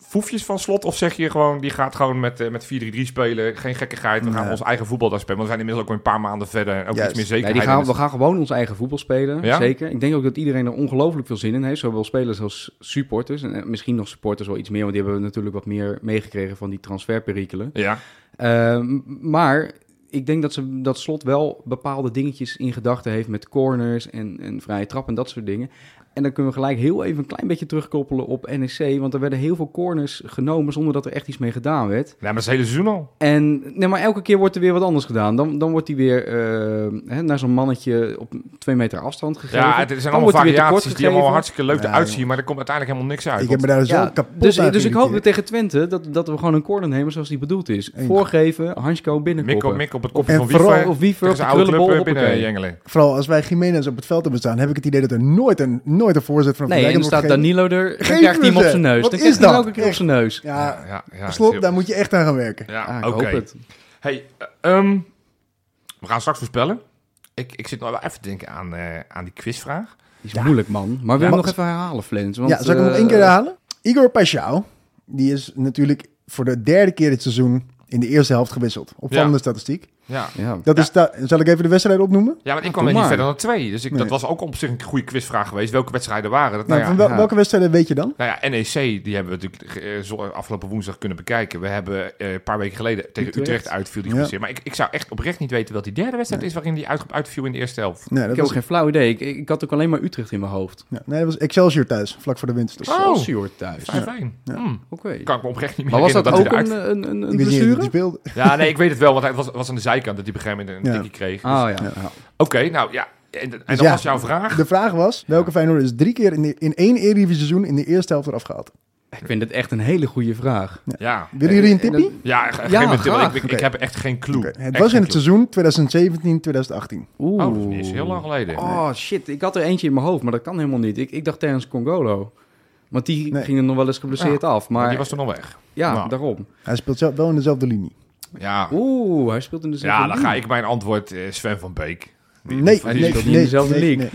[SPEAKER 2] foefjes van slot? Of zeg je gewoon, die gaat gewoon met, eh, met 4-3-3 spelen. Geen gekkigheid, we gaan
[SPEAKER 3] Nee.
[SPEAKER 2] ons eigen voetbal daar spelen. Want we zijn inmiddels ook al een paar maanden verder. en Ook iets
[SPEAKER 3] Juist.
[SPEAKER 2] meer
[SPEAKER 1] Nee,
[SPEAKER 2] zekerheid.
[SPEAKER 1] die gaan,
[SPEAKER 2] in
[SPEAKER 1] we
[SPEAKER 2] het-
[SPEAKER 1] gaan gewoon ons eigen voetbal spelen.
[SPEAKER 2] Ja?
[SPEAKER 1] Zeker. Ik denk ook dat iedereen er ongelooflijk veel zin in heeft. Zowel spelers als supporters. En eh, misschien nog supporters wel iets meer. Want die hebben natuurlijk wat meer meegekregen van die transferperikelen.
[SPEAKER 2] Ja,
[SPEAKER 1] Ehm, maar ik denk dat, ze, dat Slot wel bepaalde dingetjes in gedachten heeft met corners en, en vrije trap en dat soort dingen. En dan kunnen we gelijk heel even een klein beetje terugkoppelen op NEC. Want er werden heel veel corners genomen zonder dat er echt iets mee gedaan werd.
[SPEAKER 2] nee, maar dat is het hele seizoen al.
[SPEAKER 1] En nee, maar elke keer wordt er weer wat anders gedaan. Dan, dan wordt hij weer eh, hè, naar zo'n mannetje op twee meter afstand gegeven.
[SPEAKER 2] Ja, het er
[SPEAKER 1] Dan
[SPEAKER 2] zijn allemaal
[SPEAKER 1] wordt hij weer
[SPEAKER 2] variaties die
[SPEAKER 1] tekort gegeven.
[SPEAKER 2] allemaal hartstikke leuk
[SPEAKER 3] Ja,
[SPEAKER 2] eruit zien. Maar er komt uiteindelijk helemaal niks uit.
[SPEAKER 3] Ik heb
[SPEAKER 2] want-
[SPEAKER 3] me daar zo
[SPEAKER 1] Ja,
[SPEAKER 3] kapot
[SPEAKER 1] dus,
[SPEAKER 3] aan
[SPEAKER 1] dus ik hoop
[SPEAKER 3] geïrriteerd.
[SPEAKER 1] dat tegen Twente dat, dat we gewoon een corner nemen zoals die bedoeld is.
[SPEAKER 3] Eens.
[SPEAKER 1] Voorgeven, Hansko
[SPEAKER 2] Mikko,
[SPEAKER 1] binnenkoppen.
[SPEAKER 2] Mikko op het kopje
[SPEAKER 3] En
[SPEAKER 2] van
[SPEAKER 3] vooral
[SPEAKER 2] Wiefer.
[SPEAKER 1] Of Wiever
[SPEAKER 2] tegen
[SPEAKER 1] op de
[SPEAKER 2] zijn oude club
[SPEAKER 1] krullenbol.
[SPEAKER 2] eh, binnen
[SPEAKER 1] hoppakee.
[SPEAKER 2] jengelen.
[SPEAKER 3] Vooral als wij Jiménez op het veld hebben staan, heb ik het idee dat er nooit een, nooit een voorzet van Van
[SPEAKER 1] Nee, en
[SPEAKER 3] Dijk
[SPEAKER 1] dan
[SPEAKER 3] wordt
[SPEAKER 1] staat
[SPEAKER 3] gegeven.
[SPEAKER 1] Danilo er. Dan
[SPEAKER 3] Geef
[SPEAKER 1] krijgt
[SPEAKER 3] me
[SPEAKER 1] hij hem op
[SPEAKER 3] ze.
[SPEAKER 1] zijn neus.
[SPEAKER 3] Wat
[SPEAKER 1] Dan krijgt
[SPEAKER 3] is
[SPEAKER 1] hij hem
[SPEAKER 3] dat?
[SPEAKER 1] elke keer op zijn neus.
[SPEAKER 3] Ja,
[SPEAKER 2] Ja, ja, ja,
[SPEAKER 3] slot,
[SPEAKER 2] heel-
[SPEAKER 3] daar moet je echt aan gaan werken.
[SPEAKER 1] Ah,
[SPEAKER 2] Ja,
[SPEAKER 1] ik
[SPEAKER 2] oké.
[SPEAKER 1] hoop het.
[SPEAKER 2] Hey, eh, ehm, we gaan straks voorspellen. Ik, ik zit nou wel even te denken aan, eh, aan die quizvraag.
[SPEAKER 1] Die is moeilijk, man. Maar wil
[SPEAKER 3] Ja,
[SPEAKER 1] je
[SPEAKER 3] maar-
[SPEAKER 1] nog even herhalen, Flens? Want,
[SPEAKER 3] ja, zal ik hem nog
[SPEAKER 1] eh,
[SPEAKER 3] één keer herhalen? Igor Paschal, die is natuurlijk voor de derde keer dit seizoen in de eerste helft gewisseld. Opvallende
[SPEAKER 2] Ja.
[SPEAKER 3] statistiek.
[SPEAKER 2] Ja,
[SPEAKER 1] Ja.
[SPEAKER 3] Dat is da- zal ik even de wedstrijd opnoemen? Nou,
[SPEAKER 2] Ja, want ik
[SPEAKER 1] Ah,
[SPEAKER 2] kwam
[SPEAKER 1] doe
[SPEAKER 2] er niet
[SPEAKER 1] maar.
[SPEAKER 2] verder dan twee. Dus ik,
[SPEAKER 3] Nee.
[SPEAKER 2] dat was ook op zich een goede quizvraag geweest. Welke wedstrijden waren dat? Nou,
[SPEAKER 3] Nou,
[SPEAKER 2] ja,
[SPEAKER 3] van wel-
[SPEAKER 1] ja.
[SPEAKER 3] Welke wedstrijden weet je dan?
[SPEAKER 2] nou ja, NEC, die hebben we natuurlijk eh, zo- afgelopen woensdag kunnen bekijken. We hebben eh, een paar weken geleden tegen Utrecht,
[SPEAKER 1] Utrecht.
[SPEAKER 2] uitviel die
[SPEAKER 3] Ja.
[SPEAKER 2] geblesseerd. Maar ik, ik zou echt oprecht niet weten wat die derde wedstrijd is waarin die uit, uitviel in de eerste helft.
[SPEAKER 3] Nee, dat
[SPEAKER 1] Ik heb ook
[SPEAKER 3] was,
[SPEAKER 1] geen flauw idee. Ik, ik had ook alleen maar Utrecht in mijn hoofd.
[SPEAKER 3] ja, nee, dat was Excelsior thuis, vlak voor de winst. Dus
[SPEAKER 1] Ah,
[SPEAKER 2] Oh.
[SPEAKER 1] Excelsior thuis.
[SPEAKER 2] 5-1.
[SPEAKER 1] Oké.
[SPEAKER 2] Hm, kan ik me oprecht niet meer
[SPEAKER 1] Maar was dat
[SPEAKER 2] herinneren
[SPEAKER 1] ook
[SPEAKER 2] dat hij
[SPEAKER 1] een,
[SPEAKER 2] eruit-
[SPEAKER 1] een, een, een
[SPEAKER 3] Ik wist niet eens dat
[SPEAKER 1] blessure?
[SPEAKER 3] die speelde.
[SPEAKER 2] Ja, nee, ik weet het wel, want hij was, was aan de zijkant dat hij op een gegeven moment een
[SPEAKER 3] Ja.
[SPEAKER 2] tikkie kreeg. Dus-
[SPEAKER 1] Ah ja.
[SPEAKER 2] Oké, nou ja. En, en
[SPEAKER 3] Dus
[SPEAKER 2] dat
[SPEAKER 3] ja.
[SPEAKER 2] was jouw vraag.
[SPEAKER 3] De vraag was, welke Feyenoord is drie keer in, de- in één Eredivisie seizoen in de eerste helft eraf gehaald?
[SPEAKER 1] Ik vind het echt een hele goede vraag.
[SPEAKER 2] Ja,
[SPEAKER 3] Willen jullie een
[SPEAKER 1] Eh, En
[SPEAKER 3] tippie?
[SPEAKER 1] dat-
[SPEAKER 2] ja, ge-
[SPEAKER 1] Ja,
[SPEAKER 2] geef me een tip, want
[SPEAKER 1] graag.
[SPEAKER 2] ik, ik,
[SPEAKER 3] Oké.
[SPEAKER 2] heb echt geen clue.
[SPEAKER 3] Oké, Het
[SPEAKER 2] Echt
[SPEAKER 3] was
[SPEAKER 2] geen
[SPEAKER 3] in het
[SPEAKER 2] clue.
[SPEAKER 3] seizoen 2017, 2018.
[SPEAKER 1] Oeh.
[SPEAKER 2] Oh, dat is niet eens heel lang geleden.
[SPEAKER 1] Oh shit, ik had er eentje in mijn hoofd, maar dat kan helemaal niet. Ik, ik dacht Terence Congolo. Want die
[SPEAKER 3] Nee.
[SPEAKER 1] ging er nog wel eens geblesseerd af.
[SPEAKER 2] Maar
[SPEAKER 1] Maar
[SPEAKER 2] die was toen al weg.
[SPEAKER 1] ja,
[SPEAKER 2] Nou.
[SPEAKER 1] daarom.
[SPEAKER 3] Hij speelt zelf wel in dezelfde linie.
[SPEAKER 2] Ja,
[SPEAKER 1] Oeh, hij speelt in de
[SPEAKER 2] Ja,
[SPEAKER 1] Champions
[SPEAKER 2] dan
[SPEAKER 1] League.
[SPEAKER 2] ga ik mijn antwoord eh, Sven van Beek. Die-
[SPEAKER 3] Nee,
[SPEAKER 2] die-
[SPEAKER 3] nee,
[SPEAKER 1] die
[SPEAKER 3] nee,
[SPEAKER 1] speelt niet in
[SPEAKER 3] nee,
[SPEAKER 1] dezelfde league.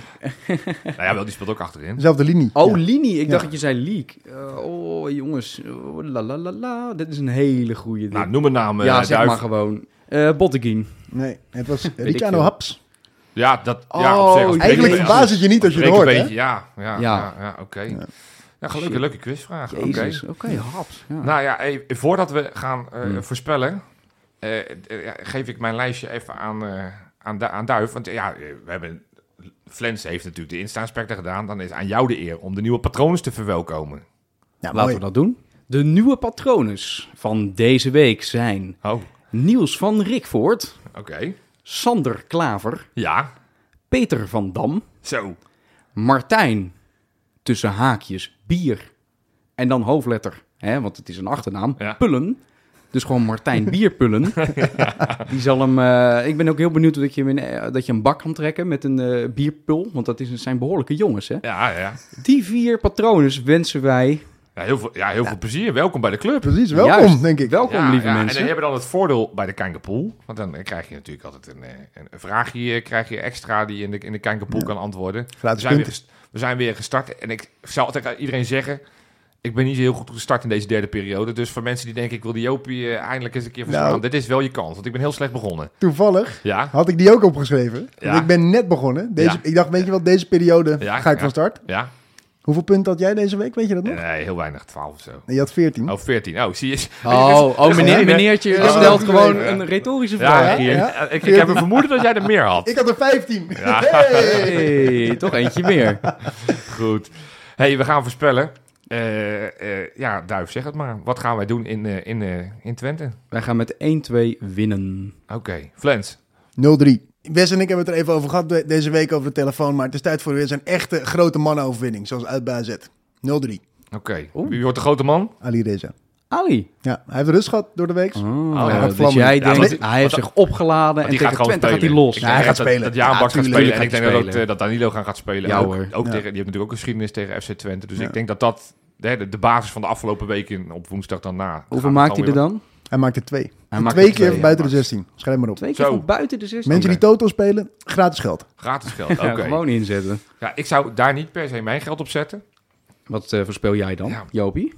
[SPEAKER 2] Nou ja, wel, die speelt ook achterin.
[SPEAKER 3] Dezelfde linie.
[SPEAKER 1] Oh,
[SPEAKER 3] ja.
[SPEAKER 1] Lini. Ik
[SPEAKER 3] Ja.
[SPEAKER 1] dacht dat je zei Leak. Eh, oh, jongens. Oh, la la la la. Dit is een hele goede ding.
[SPEAKER 2] Nou, noem een naam. eh,
[SPEAKER 1] ja, zeg
[SPEAKER 2] Duif.
[SPEAKER 1] maar gewoon. Eh Botteguin.
[SPEAKER 3] Nee, het was
[SPEAKER 1] ik
[SPEAKER 3] Ricciano
[SPEAKER 1] veel.
[SPEAKER 3] Haps.
[SPEAKER 2] Ja, dat... ja, op
[SPEAKER 1] Oh,
[SPEAKER 2] zich, als
[SPEAKER 3] Eigenlijk
[SPEAKER 2] breek-
[SPEAKER 3] verbaast het je niet als je het
[SPEAKER 2] breek
[SPEAKER 3] hoort,
[SPEAKER 2] een
[SPEAKER 3] hè?
[SPEAKER 2] beetje, Ja, ja, ja,
[SPEAKER 1] Ja.
[SPEAKER 2] ja, oké. Ja, gelukkig, leuke quizvraag. Oké.
[SPEAKER 1] Jezus. Oké, haps. Ja.
[SPEAKER 2] Nou ja, hey, voordat we gaan eh,
[SPEAKER 3] Hmm.
[SPEAKER 2] voorspellen, eh, eh, ja, geef ik mijn lijstje even aan, eh, aan, Du- aan Duif. Want eh, ja, eh, we hebben... Flens heeft natuurlijk de Insta-inspector gedaan. Dan is aan jou de eer om de nieuwe patronen te verwelkomen.
[SPEAKER 3] Ja,
[SPEAKER 1] Laten we dat doen. De nieuwe patrones van deze week zijn
[SPEAKER 2] Oh, oké.
[SPEAKER 1] Niels van Rikvoort, Sander Klaver,
[SPEAKER 2] Ja,
[SPEAKER 1] Peter van Dam,
[SPEAKER 2] zo.
[SPEAKER 1] Martijn tussen haakjes Bier. En dan hoofdletter, hè, want het is een achternaam.
[SPEAKER 2] Ja.
[SPEAKER 1] Pullen. Dus gewoon
[SPEAKER 2] <laughs>
[SPEAKER 1] Martijn Bierpullen. Die zal hem. eh, ik ben ook heel benieuwd dat je, hem in, eh, dat je een bak kan trekken met een eh, bierpul. Want dat is, zijn behoorlijke jongens, hè?
[SPEAKER 2] Ja, ja.
[SPEAKER 1] Die vier patronen wensen wij.
[SPEAKER 2] ja heel veel, ja, heel veel plezier. Welkom bij de club.
[SPEAKER 3] Precies, welkom,
[SPEAKER 1] Juist.
[SPEAKER 3] denk ik.
[SPEAKER 1] Welkom,
[SPEAKER 2] Ja,
[SPEAKER 1] lieve
[SPEAKER 2] ja, En
[SPEAKER 1] mensen.
[SPEAKER 2] dan hebben we dan het voordeel bij de Kankerpool. Want dan eh, krijg je natuurlijk altijd een, eh, een een vraagje eh, krijg je extra die je in de, in de Kankerpool kan antwoorden. We
[SPEAKER 3] Gratis
[SPEAKER 2] zijn, weer,
[SPEAKER 3] punten.
[SPEAKER 2] gest- we zijn weer gestart. En ik zou altijd aan iedereen zeggen... Ik ben niet zo heel goed gestart in deze derde periode. Dus voor mensen die denken, ik wil die Jopie eh, eindelijk eens een keer verslaan.
[SPEAKER 3] Nou.
[SPEAKER 2] Dit is wel je kans, want ik ben heel slecht begonnen.
[SPEAKER 3] Toevallig
[SPEAKER 2] Ja,
[SPEAKER 3] had ik die ook opgeschreven. Want
[SPEAKER 2] Ja.
[SPEAKER 3] Ik ben net begonnen. Deze,
[SPEAKER 2] Ja.
[SPEAKER 3] Ik dacht, weet je wat, deze periode
[SPEAKER 2] Ja,
[SPEAKER 3] ga ik
[SPEAKER 2] ja.
[SPEAKER 3] van start.
[SPEAKER 2] ja.
[SPEAKER 3] Hoeveel punten had jij deze week, weet je dat nog?
[SPEAKER 2] Nee, heel weinig. 12 of zo.
[SPEAKER 3] Nee, je had 14.
[SPEAKER 2] Oh, 14. Oh, zie je.
[SPEAKER 1] Oh, oh meneer,
[SPEAKER 2] geen-
[SPEAKER 1] meneertje
[SPEAKER 2] dus-
[SPEAKER 3] Oh.
[SPEAKER 1] stelt gewoon
[SPEAKER 3] Ja.
[SPEAKER 1] een retorische vraag.
[SPEAKER 2] Ja, hier.
[SPEAKER 3] Ja.
[SPEAKER 2] Ik, ik heb een vermoeden dat jij er meer had.
[SPEAKER 3] Ik had er 15.
[SPEAKER 2] Ja.
[SPEAKER 3] <laughs> Hey.
[SPEAKER 1] Hey, toch eentje
[SPEAKER 2] <laughs>
[SPEAKER 1] meer.
[SPEAKER 2] Goed. hey, we gaan voorspellen. Eh, eh, ja, Duif, zeg het maar. Wat gaan wij doen in, eh, in, eh, in Twente?
[SPEAKER 1] Wij gaan met 1-2 winnen.
[SPEAKER 2] Oké, Flens.
[SPEAKER 3] 0-3. Wes en ik hebben het er even over gehad de- deze week over de telefoon. Maar het is tijd voor weer zijn echte grote mannenoverwinning. Zoals uit bij AZ. 0-3.
[SPEAKER 2] Oké. Wie wordt de grote man?
[SPEAKER 3] Ali Reza.
[SPEAKER 1] Ali.
[SPEAKER 3] Ja, hij heeft rust gehad door de week.
[SPEAKER 1] Oh,
[SPEAKER 2] hij gaat
[SPEAKER 1] dus
[SPEAKER 3] vlammen.
[SPEAKER 1] jij
[SPEAKER 3] Ja,
[SPEAKER 1] denkt,
[SPEAKER 2] want-
[SPEAKER 1] hij heeft
[SPEAKER 2] want-
[SPEAKER 1] zich opgeladen en
[SPEAKER 2] Die gaat
[SPEAKER 1] tegen
[SPEAKER 2] gewoon
[SPEAKER 1] Twente
[SPEAKER 2] spelen.
[SPEAKER 1] gaat hij los.
[SPEAKER 2] Ik
[SPEAKER 3] Ja, hij
[SPEAKER 2] denk
[SPEAKER 3] gaat
[SPEAKER 2] dat-
[SPEAKER 3] spelen.
[SPEAKER 2] Dat Jaan
[SPEAKER 1] Ja,
[SPEAKER 2] Baks gaat
[SPEAKER 1] tuurlijk
[SPEAKER 2] spelen. En
[SPEAKER 1] gaat
[SPEAKER 2] ik denk
[SPEAKER 1] hij
[SPEAKER 2] dat, ook,
[SPEAKER 1] spelen.
[SPEAKER 2] eh, dat Danilo gaan gaat spelen.
[SPEAKER 1] Ja,
[SPEAKER 2] ook,
[SPEAKER 1] hoor.
[SPEAKER 2] Ook Tegen,
[SPEAKER 3] Ja.
[SPEAKER 2] die hebben natuurlijk ook geschiedenis tegen FC Twente. Dus
[SPEAKER 3] Ja.
[SPEAKER 2] ik denk dat dat hè, de, de basis van de afgelopen weken op woensdag daarna...
[SPEAKER 1] Hoeveel maakt hij er dan?
[SPEAKER 3] Hij maakte twee.
[SPEAKER 1] Hij maakte
[SPEAKER 3] twee keer
[SPEAKER 1] twee, ja,
[SPEAKER 3] buiten de
[SPEAKER 2] Max.
[SPEAKER 3] 16. Schrijf maar op.
[SPEAKER 1] Twee keer
[SPEAKER 2] Zo.
[SPEAKER 1] van buiten de 16.
[SPEAKER 3] Mensen die Toto spelen, gratis geld.
[SPEAKER 2] Gratis geld, oké.
[SPEAKER 1] Ja, gewoon inzetten.
[SPEAKER 2] Ja, ik zou daar niet per se mijn geld op zetten.
[SPEAKER 1] Wat eh, voorspel jij dan,
[SPEAKER 2] Ja.
[SPEAKER 1] Jopie?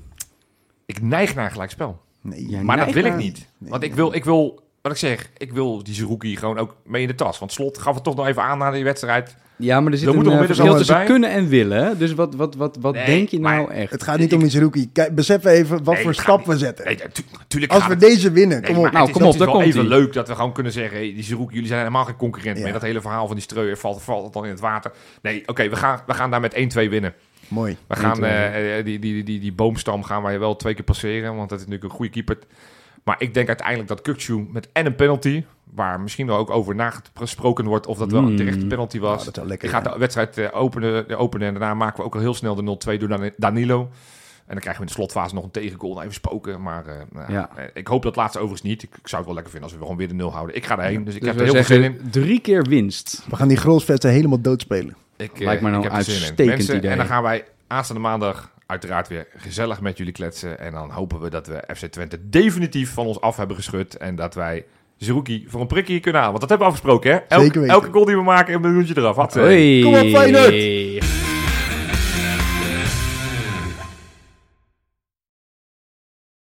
[SPEAKER 2] Ik neig naar een gelijkspel.
[SPEAKER 3] Nee.
[SPEAKER 1] Jij
[SPEAKER 2] Maar dat
[SPEAKER 1] neigt
[SPEAKER 2] wil ik
[SPEAKER 1] naar-
[SPEAKER 2] niet. Want ik wil, ik wil, wat ik zeg, ik wil die Zerouki gewoon ook mee in de tas. Want Slot gaf het toch nog even aan na die wedstrijd.
[SPEAKER 1] Ja, maar er zit
[SPEAKER 2] Er moet
[SPEAKER 1] een
[SPEAKER 2] nog
[SPEAKER 1] eh,
[SPEAKER 2] midden-
[SPEAKER 1] verschil
[SPEAKER 2] zomaar
[SPEAKER 1] tussen
[SPEAKER 2] bij.
[SPEAKER 1] kunnen en willen. hè? Dus wat, wat, wat, wat
[SPEAKER 2] Nee,
[SPEAKER 1] denk je nou
[SPEAKER 2] maar
[SPEAKER 1] echt?
[SPEAKER 3] Het gaat niet om iets rookie. Kijk, besef even wat
[SPEAKER 2] Nee,
[SPEAKER 3] voor
[SPEAKER 2] het
[SPEAKER 3] stap
[SPEAKER 2] gaat
[SPEAKER 3] we
[SPEAKER 2] niet-
[SPEAKER 3] zetten.
[SPEAKER 2] Nee, natuurlijk. natuurlijk
[SPEAKER 3] Als
[SPEAKER 2] gaat
[SPEAKER 3] we
[SPEAKER 2] het-
[SPEAKER 3] deze winnen,
[SPEAKER 2] Nee,
[SPEAKER 3] kom op.
[SPEAKER 2] maar het
[SPEAKER 1] Nou,
[SPEAKER 2] is-
[SPEAKER 1] kom
[SPEAKER 2] dat
[SPEAKER 1] op,
[SPEAKER 2] is
[SPEAKER 1] daar
[SPEAKER 2] wel
[SPEAKER 1] komt-ie.
[SPEAKER 2] even leuk dat we gewoon kunnen zeggen... Hey, die Zerouki, jullie zijn helemaal geen concurrent
[SPEAKER 3] Ja.
[SPEAKER 2] meer. Dat hele verhaal van die streuer valt, valt dan in het water. Nee, oké, we, gaan, we gaan daar met 1-2 winnen.
[SPEAKER 3] Mooi.
[SPEAKER 2] We gaan eh, eh, die, die, die, die boomstam gaan wij wel twee keer passeren, want dat is natuurlijk een goede keeper. Maar ik denk uiteindelijk dat Kukcu met en een penalty, waar misschien wel ook over nagesproken wordt of dat wel een
[SPEAKER 1] Hmm.
[SPEAKER 2] terechte penalty was.
[SPEAKER 3] Oh, dat zou lekker
[SPEAKER 2] Die gaat
[SPEAKER 3] zijn.
[SPEAKER 2] de wedstrijd eh, openen, eh, openen en daarna maken we ook al heel snel de 0-2 door Dan- Danilo. En dan krijgen we in de slotfase nog een tegengoal. Nou, Even spoken, maar eh, nou,
[SPEAKER 1] Ja.
[SPEAKER 2] eh, ik hoop dat laatste overigens niet. Ik, ik zou het wel lekker vinden als we gewoon weer de nul houden. Ik ga erheen, dus ik
[SPEAKER 1] Dus
[SPEAKER 2] heb er
[SPEAKER 1] wij
[SPEAKER 2] heel veel zin in.
[SPEAKER 1] zeggen drie keer winst.
[SPEAKER 3] We gaan die grolsvesten helemaal doodspelen.
[SPEAKER 2] Ik,
[SPEAKER 1] Lijkt
[SPEAKER 2] eh,
[SPEAKER 1] me nou
[SPEAKER 2] ik heb er zin in.
[SPEAKER 1] uitstekend
[SPEAKER 2] Mensen,
[SPEAKER 1] idee.
[SPEAKER 2] En dan gaan wij aanstaande maandag uiteraard weer gezellig met jullie kletsen. En dan hopen we dat we FC Twente definitief van ons af hebben geschud. En dat wij Zerouki voor een prikkie kunnen halen. Want dat hebben we afgesproken, hè? Elk-
[SPEAKER 3] Zeker weten.
[SPEAKER 2] Elke goal die we maken, een miljoentje eraf. Had
[SPEAKER 1] Hoi.
[SPEAKER 3] Kom op, Feyenoord!